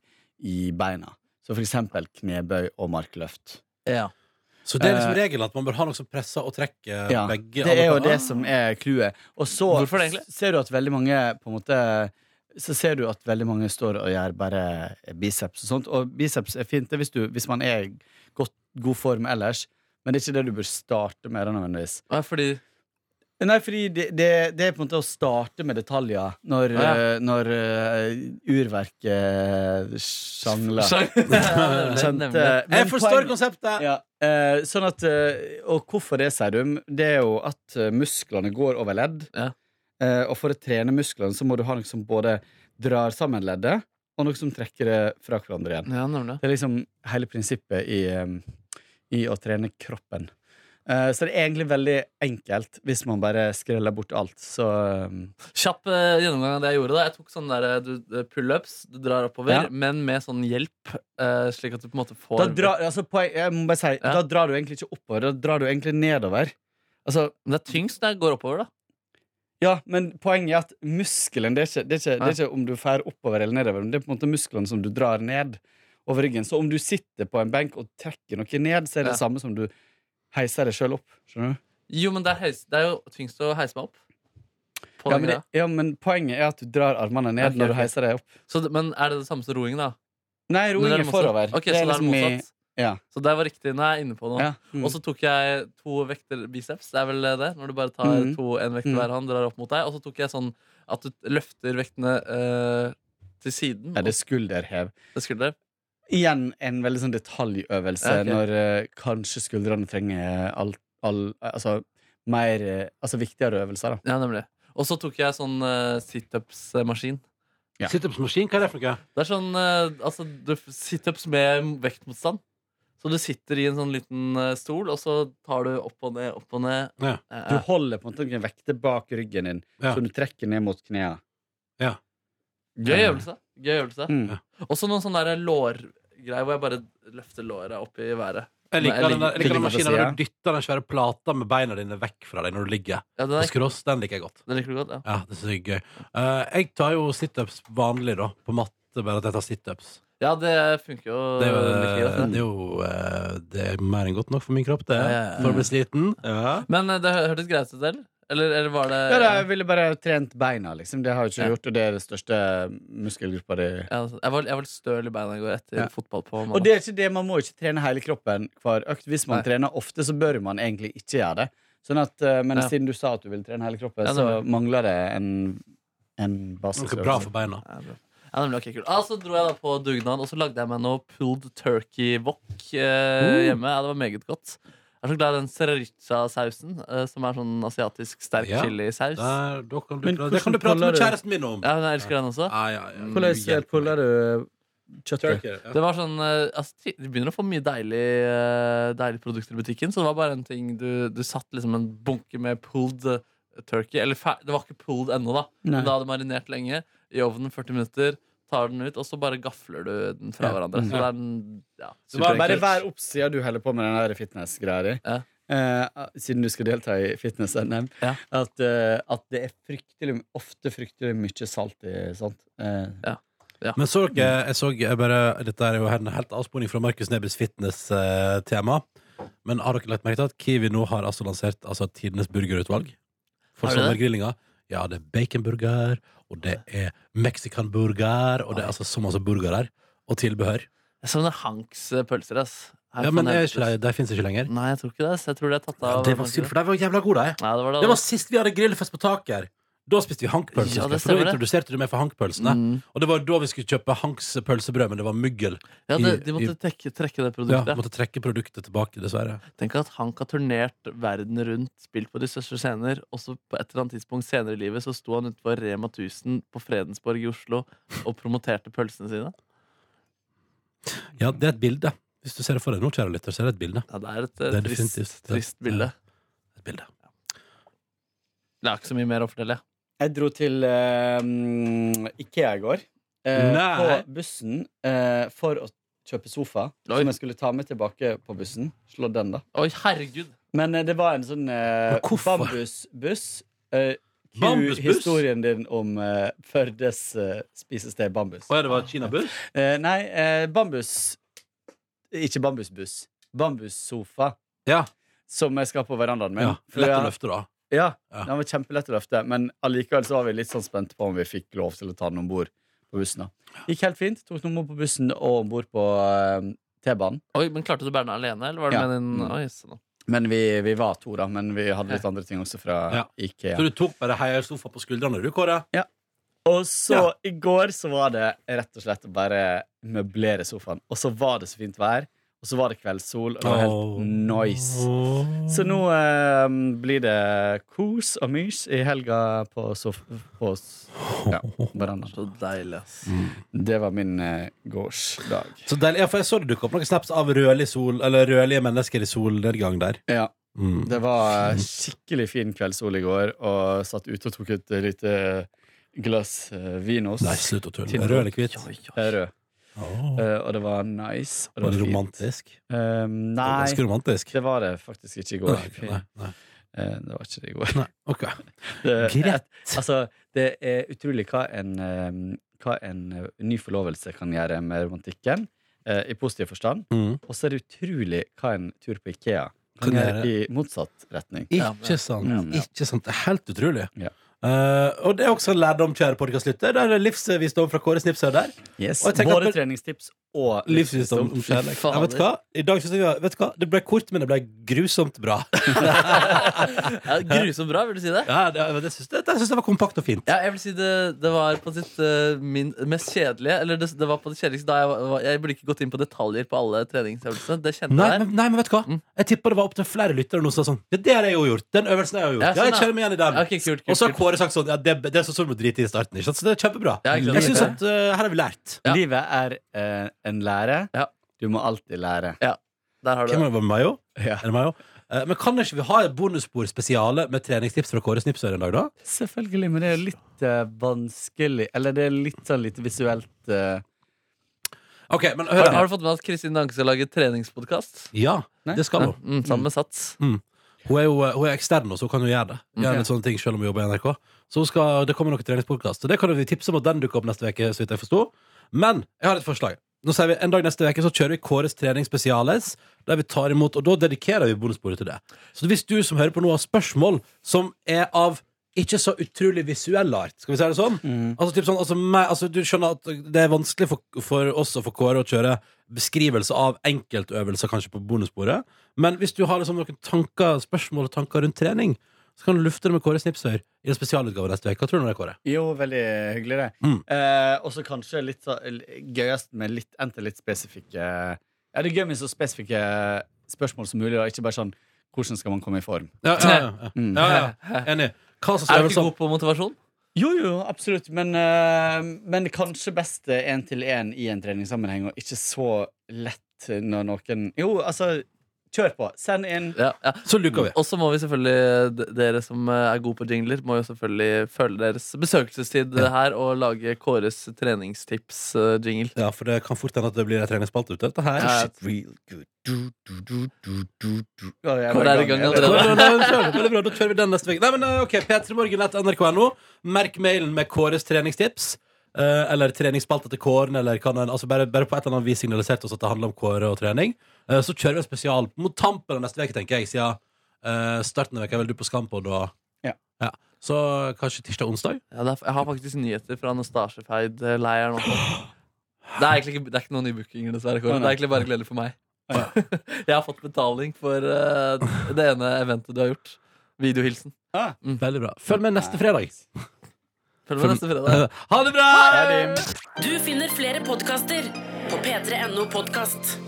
P: i beina. Så for eksempel knebøy og markløft.
B: Så det er liksom
P: Eh,
B: regelen at man bør ha noe som presser og trekker
P: ja,
B: begge.
P: Det er jo
B: alle-
P: det som er clouet. Og så ser du at veldig mange på en måte så ser du at veldig mange står og gjør bare biceps og sånt. Og biceps er fint det er hvis, du, hvis man er i godt, god form ellers, men det er ikke det du bør starte med. da, nødvendigvis
C: fordi
P: Nei, fordi det, det, det er på en måte å starte med detaljer når,
C: Ja.
P: eh, når eh, urverket sjangler.
C: Sjang- Ja,
P: Skjønte-
C: nemlig, nemlig.
P: Men
C: Jeg forstår
B: konseptet!
P: Ja, eh, sånn at, eh, og hvorfor det, sier du? Det er jo at eh, musklene går over ledd. Eh, og for å trene musklene så må du ha noe som både drar sammen leddet, og noe som trekker det fra hverandre igjen.
C: Ja, nemlig.
P: Det er liksom hele prinsippet i, eh, i å trene kroppen. Eh, Så det er egentlig veldig enkelt hvis man bare skreller bort alt. Så
C: Kjapp eh, gjennomgang av det jeg gjorde. da Jeg tok sånne der, eh, du- eh, pullups. Du drar oppover,
P: Ja.
C: men med sånn hjelp. eh, Slik at du på en måte får
P: da drar, altså, poen- jeg må bare si, da drar du egentlig ikke oppover, da drar du egentlig nedover. Altså,
C: men det er tyngst når jeg går oppover, da.
P: Ja, men poenget er at muskelen Det er ikke, det er ikke, det er ikke om du fær oppover eller nedover, men det er på en måte musklene som du drar ned over ryggen. Så om du sitter på en benk og trekker noe ned, så er det
C: Ja.
P: samme som du heiser deg sjøl opp. Skjønner du?
C: Jo, men det er, heis, det er jo tyngst å heise meg opp. På
P: Ja
C: den
P: men, det,
C: greia.
P: ja, men poenget er at du drar armene ned
C: Ok,
P: når du
C: ok.
P: heiser deg opp.
C: Så, det- men er det det samme som roing, da?
P: Nei, roing
C: Men det
P: er
C: det
P: forover.
C: motsatt. Ok,
P: Det
C: så
P: er
C: det er
P: liksom i-
C: motsatt.
P: Ja.
C: Så det var riktig. Nå er jeg inne på noe.
P: Ja, mm.
C: Og så tok jeg to vekter biceps. Det er vel det? Når du bare tar
P: Mm.
C: to en vekt i
P: Mm.
C: hver hånd, drar opp mot deg. Og så tok jeg sånn at du løfter vektene eh, til siden.
P: Ja, det er skulderhev.
C: Det er skulderhev.
P: Igjen en veldig sånn detaljøvelse
C: Ja, ok.
P: når eh, kanskje skuldrene trenger all, all, altså, mer, eh, altså viktigere øvelser. Da.
C: Ja, nemlig. Og så tok jeg sånn eh, situps-maskin.
P: Ja.
B: Situpsmaskin, hva er det for noe?
C: Det er sånn eh, altså, du- situps med vektmotstand. Så du sitter i en sånn liten eh, stol, og så tar du opp og ned, opp og ned.
B: Ja.
C: Eh,
P: Du holder på en måte noen vekter bak ryggen din,
C: Ja.
P: som du trekker ned mot knærne.
B: Ja.
C: Gøy øvelse. Gøy øvelse.
P: Mm. Ja.
C: Også noen sånne der lårgreier hvor jeg bare løfter låret opp i været.
B: Jeg liker den, der- jeg liker den maskinen der du
C: dytter.
B: dytter den svære plata med beina dine vekk fra deg når du ligger.
C: Ja, den er-
B: På skrås, den liker jeg godt.
C: Den liker du godt, ja.
B: Ja, det synes jeg er gøy. Eh, jeg tar jo situps vanlig, da, på matte, bare at jeg tar situps.
C: Ja, det funker jo.
B: Det er jo,
C: like greit, det.
B: det er jo eh, det er mer enn godt nok for min kropp, det.
C: Ja, ja, ja.
B: For å bli sliten.
C: Men eh, det hø- hørtes greit ut, eller? Eller, eller var det
P: Ja, da, jeg ville bare trent beina, liksom. Det har jeg ikke
C: Ja.
P: gjort, og det er den største muskelgruppa di.
C: Ja, altså, jeg, var, jeg var litt støl i beina i går etter
P: Ja.
C: fotball på
P: Og det er ikke det, man må ikke trene hele kroppen hver økt. Hvis man
C: Nei.
P: trener ofte, så bør man egentlig ikke gjøre det. Sånn at, eh, men
C: Ja.
P: siden du sa at du ville trene hele kroppen,
C: Ja,
P: så
C: nemlig.
P: mangler det en, en basisøvelse.
B: Noe bra for beina.
C: Ja, nemlig, ok, kult. Ja, så dro jeg da på dugnad, og så lagde jeg meg noe pulled turkey wok eh,
P: Mm.
C: hjemme. Ja, det var meget godt. Jeg er så glad i den sriracha-sausen, eh, som er sånn asiatisk sterk
B: Ja.
C: chilisaus.
B: Der, da kan du,
C: Men
B: det kan du prate med
C: hvordan puller du?
B: kjæresten min om.
C: Ja, hun elsker den også.
P: Hvordan eh, puller du kjøttet?
B: Turkey, ja.
C: Det var sånn eh, altså, ti- Du begynner å få mye deilig, eh, deilige produkter i butikken, så det var bare en ting du, du satt liksom en bunke med pulled eh, turkey Eller fe- det var ikke pulled ennå, da.
P: Nei.
C: Men da hadde marinert lenge. I ovnen 40 minutter. Tar den ut, og så bare gafler du den fra
P: Ja.
C: hverandre. Så det
P: Ja.
C: er en, ja,
P: Så bare, bare
C: superenkelt.
P: vær opp siden du holder på med den der fitness-greia di. Eh, siden du skal delta i fitness-NM. At, eh, at det er fryktelig, ofte fryktelig mye salt i sånt. Eh,
B: Men så dere, jeg så jeg bare, dette er jo en helt avsporing fra Markus Nebys fitness-tema. Men har dere lagt merke til at Kiwi nå har altså lansert altså, tidenes burgerutvalg? For
P: Har de det?
B: sommergrillinga. Ja, det er baconburger, og det er mexicanburger, og det er altså så masse burgerer. Og tilbehør.
C: Sånne Hanks-pølser, eh, ass. Her
B: Ja,
C: får
B: men
C: den
B: er
C: helt
B: ikke de, de fins ikke lenger.
C: Nei, jeg tror ikke det. Så jeg tror det er tatt av.
B: det var synd, for de var jævla gode, de.
C: Ja, det var det,
B: Det var
C: da.
B: sist vi hadde grillfest på Taker. Da spiste vi hankpølser.
C: Ja, det
B: for
C: stemmer
B: da
C: det. Mm.
B: introduserte du meg for hankpølsene. Og det var da vi skulle kjøpe Hanks pølsebrød, men det var mygl.
C: Ja,
B: i-
C: de, de
B: i-
C: måtte trekke, trekke
B: Ja,
C: det produktet.
B: måtte trekke produktet tilbake, dessverre.
C: Tenk at Hank har turnert verden rundt, spilt på de største scener, og så på et eller annet tidspunkt senere i livet så sto han utenfor Rema 1000 på Fredensborg i Oslo og promoterte pølsene sine.
B: Ja, det er et bilde. Hvis du ser det for deg nå, kjære lytter, så er det et bilde.
C: Ja, det er et eh, trist,
B: definitivt et,
C: trist bilde.
B: eh, Et bilde.
C: Det er ikke så mye mer å fortelle.
P: Jeg dro til eh, mm, Ikea i går. eh,
C: Nei.
P: på bussen eh, for å kjøpe sofa, som jeg skulle ta med tilbake på bussen. Slå den, da.
C: Oi, herregud!
P: Men eh, det var en sånn eh, bambusbuss. Eh, Q,
B: Bambusbuss?
P: Historien din om eh, Førdes eh, spisested bambus.
B: Å ja, det var kinabuss?
P: Eh, nei, eh, bambus Ikke bambusbuss. Bambussofa. Som jeg skal på verandaen min.
B: Ja,
P: For
B: lett å
P: jeg-
B: løfte, da.
P: Ja, den var kjempelett å løfte. Men allikevel så var vi litt sånn spente på om vi fikk lov til å ta den om bord på bussen. da Gikk helt fint. Tok den om bord på bussen og om bord på eh, T-banen.
C: Oi, men Klarte du å bære den alene, eller var det
P: Ja.
C: med din
P: Mm.
C: Oi, sånn.
P: Men vi, vi var to, da. Men vi hadde litt andre ting også fra
B: Ja.
P: Ikea.
B: Så du tok bare heiersofa på skuldrene, du, Kåre?
P: Ja. Og så i går så var det rett og slett å bare møblere sofaen. Og så var det så fint vær, og så var det kveldssol, og det var helt nice. Så nå eh, blir det kos og mys i helga på, sof på s- ja, verandaen.
C: Så deilig, ass.
B: Mm.
P: Det var min eh, gårsdag.
B: Så deilig. Ja, for jeg så det dukket opp noen snaps av rødlig sol, eller rødlige mennesker i solnedgang der.
P: Ja.
B: Mm.
P: Det var eh, skikkelig fin kveldssol i går, og satt ute og tok et lite glass eh, vinos.
B: Nei, slutt å tulle.
P: Til-
B: Rød eller hvit?
P: Oi, oi. Eh, Rød. Eh, og det var nice. og
B: Var det
P: fint.
B: romantisk?
P: Eh,
B: Det
P: nei,
B: var ganske romantisk.
P: det var det faktisk ikke i går.
B: Nei, nei,
P: Eh, det var ikke det i går.
B: Nei, ok.
P: Det-
B: Greit.
P: et- altså, det er utrolig hva en, eh, hva en eh, ny forlovelse kan gjøre med romantikken, eh, i positiv forstand.
B: Mhm.
P: Og så er det utrolig hva en tur på Ikea kan
B: Kan
P: gjøre
B: gjøre.
P: i motsatt retning.
B: Ikke sant.
P: Mm, ja.
B: Ikke sant. Det er helt utrolig. Eh, og det er også en lærdom, kjære podkastlytter. Det er livsvisdom fra Kåre Snipshaug der.
P: Yes.
B: Og jeg tenker at-
P: Både treningstips og
B: Livsvisdom om kjærlighet.
P: Fy fader.
B: Nei, vet du hva? I dag synes jeg, vi har- vet du hva? Det ble kort, men det ble grusomt bra.
C: Ja, grusomt bra, vil du si det?
B: Ja, det, det syns jeg, det var kompakt og fint.
C: Ja, jeg vil si det, det var på sitt eh, min, mest kjedelige Eller det, det var på det kjedeligste da jeg var Jeg burde ikke gått inn på detaljer på alle treningsøvelsene. Det kjente
B: Nei,
C: jeg
B: men, nei, men vet du hva?
C: Mm.
B: Jeg tipper det var opptil flere lyttere nå som sa sånn Ja, det har jeg jo gjort. Den øvelsen har jeg jo gjort.
C: Ja,
B: Ja,
C: sånn,
B: jeg kjenner meg igjen i den.
C: Ja, ok, kult, kult,
B: og så har
C: kult.
B: Kåre sagt sånn Ja, det, det er sånn som du må drite i i starten. Ikke sant? Så det er kjempebra.
P: sant.
B: jeg synes at eh, her har vi lært.
P: Livet er eh, en lære. Du må alltid lære.
B: Hvem var det? Mayo? Er det Mayo? Eh, Men kan ikke vi ha et bonusbordspesiale med treningstips fra Kåre Snipsøy en dag, da?
P: Selvfølgelig, men det er jo litt eh, vanskelig Eller det er litt sånn litt visuelt eh.
C: har, har du fått med at Kristin Danke skal lage treningspodkast?
B: Ja, det skal hun.
C: Mm, sammen med Sats.
B: Mm. Hun er jo hun er ekstern, nå, så hun kan jo gjøre det. Gjøre litt sånne ting selv om hun jobber i NRK. Så hun skal, det kommer noen treningspodkast. Og det kan vi tipse om at den dukker opp neste uke, så vidt jeg forsto. Men jeg har et forslag. Nå sier vi En dag neste uke så kjører vi Kåres trening spesiales, der vi tar imot, og da dedikerer vi bonusbordet til det. Så hvis du som hører på nå har spørsmål som er av ikke så utrolig visuell art, skal vi si det sånn? Altså, typ sånn altså, meg, altså, du skjønner at det er vanskelig for, for oss og for Kåre å kjøre beskrivelse av enkeltøvelser kanskje på bonusbordet, men hvis du har liksom, noen tanker, spørsmål og tanker rundt trening, så kan du lufte det med Kåre Snipsøyr i en spesialutgave neste uke. Hva tror du om det, Kåre?
P: Jo, veldig hyggelig, det.
B: Mm.
P: Eh, og så kanskje litt så, gøyest med litt, enten litt spesifikke Ja, det er gøy med så spesifikke spørsmål som mulig, og ikke bare sånn Hvordan skal man komme i form?
B: Ja, ja, ja.
P: Mm.
B: ja, ja. Enig. Hva slags
P: Er du ikke
B: øvelser
P: god
C: på motivasjon?
P: Jo, jo, absolutt. Men, eh, men kanskje best én-til-én i en treningssammenheng, og ikke så lett når noen Jo, altså, kjør på. Send inn.
C: Ja, ja.
B: Så lugger vi.
C: Og så må vi selvfølgelig, d- dere som eh, er gode på jingler, må jo selvfølgelig følge deres besøkelsestid eh, her og lage Kåres eh, treningstips-jingle.
B: Ja, for det kan fort hende at det blir en treningsspalte ut av dette her.
C: Ja.
B: Shit, real good.
P: Ja, jeg
C: Hvor
P: var
C: er det i gang
B: Veldig bra,
C: allerede?
B: veldig bra, Da kjører vi den neste uke. Nei, men eh, ok, p3morgen.nrk.no. Merk mailen med Kåres treningstips. eh, eller treningsspalte til Kåren, eller kan en, altså bare, bare på et eller annet vis signalisert oss at det handler om Kåre og trening. Eh, så kjører vi en spesial mot tampen av neste uke, tenker jeg, siden eh, starten av veka er vel du på Skampod og
P: Ja.
B: Så kanskje tirsdag-onsdag?
C: Ja, det er, jeg har faktisk nyheter fra Nastasjefeid-leiren også. Det er egentlig ikke, det er ikke noen nye bookinger, dessverre. Kåre.
P: Nei,
C: Det
P: nei.
C: er egentlig bare gledelig for meg. Jeg har fått betaling for eh, det ene eventet du har gjort. Videohilsen.
B: Veldig bra. Mm. Følg med neste fredag.
C: Følg med neste fredag.
B: Ha det bra!
A: Du finner flere podkaster på p3.no podkast.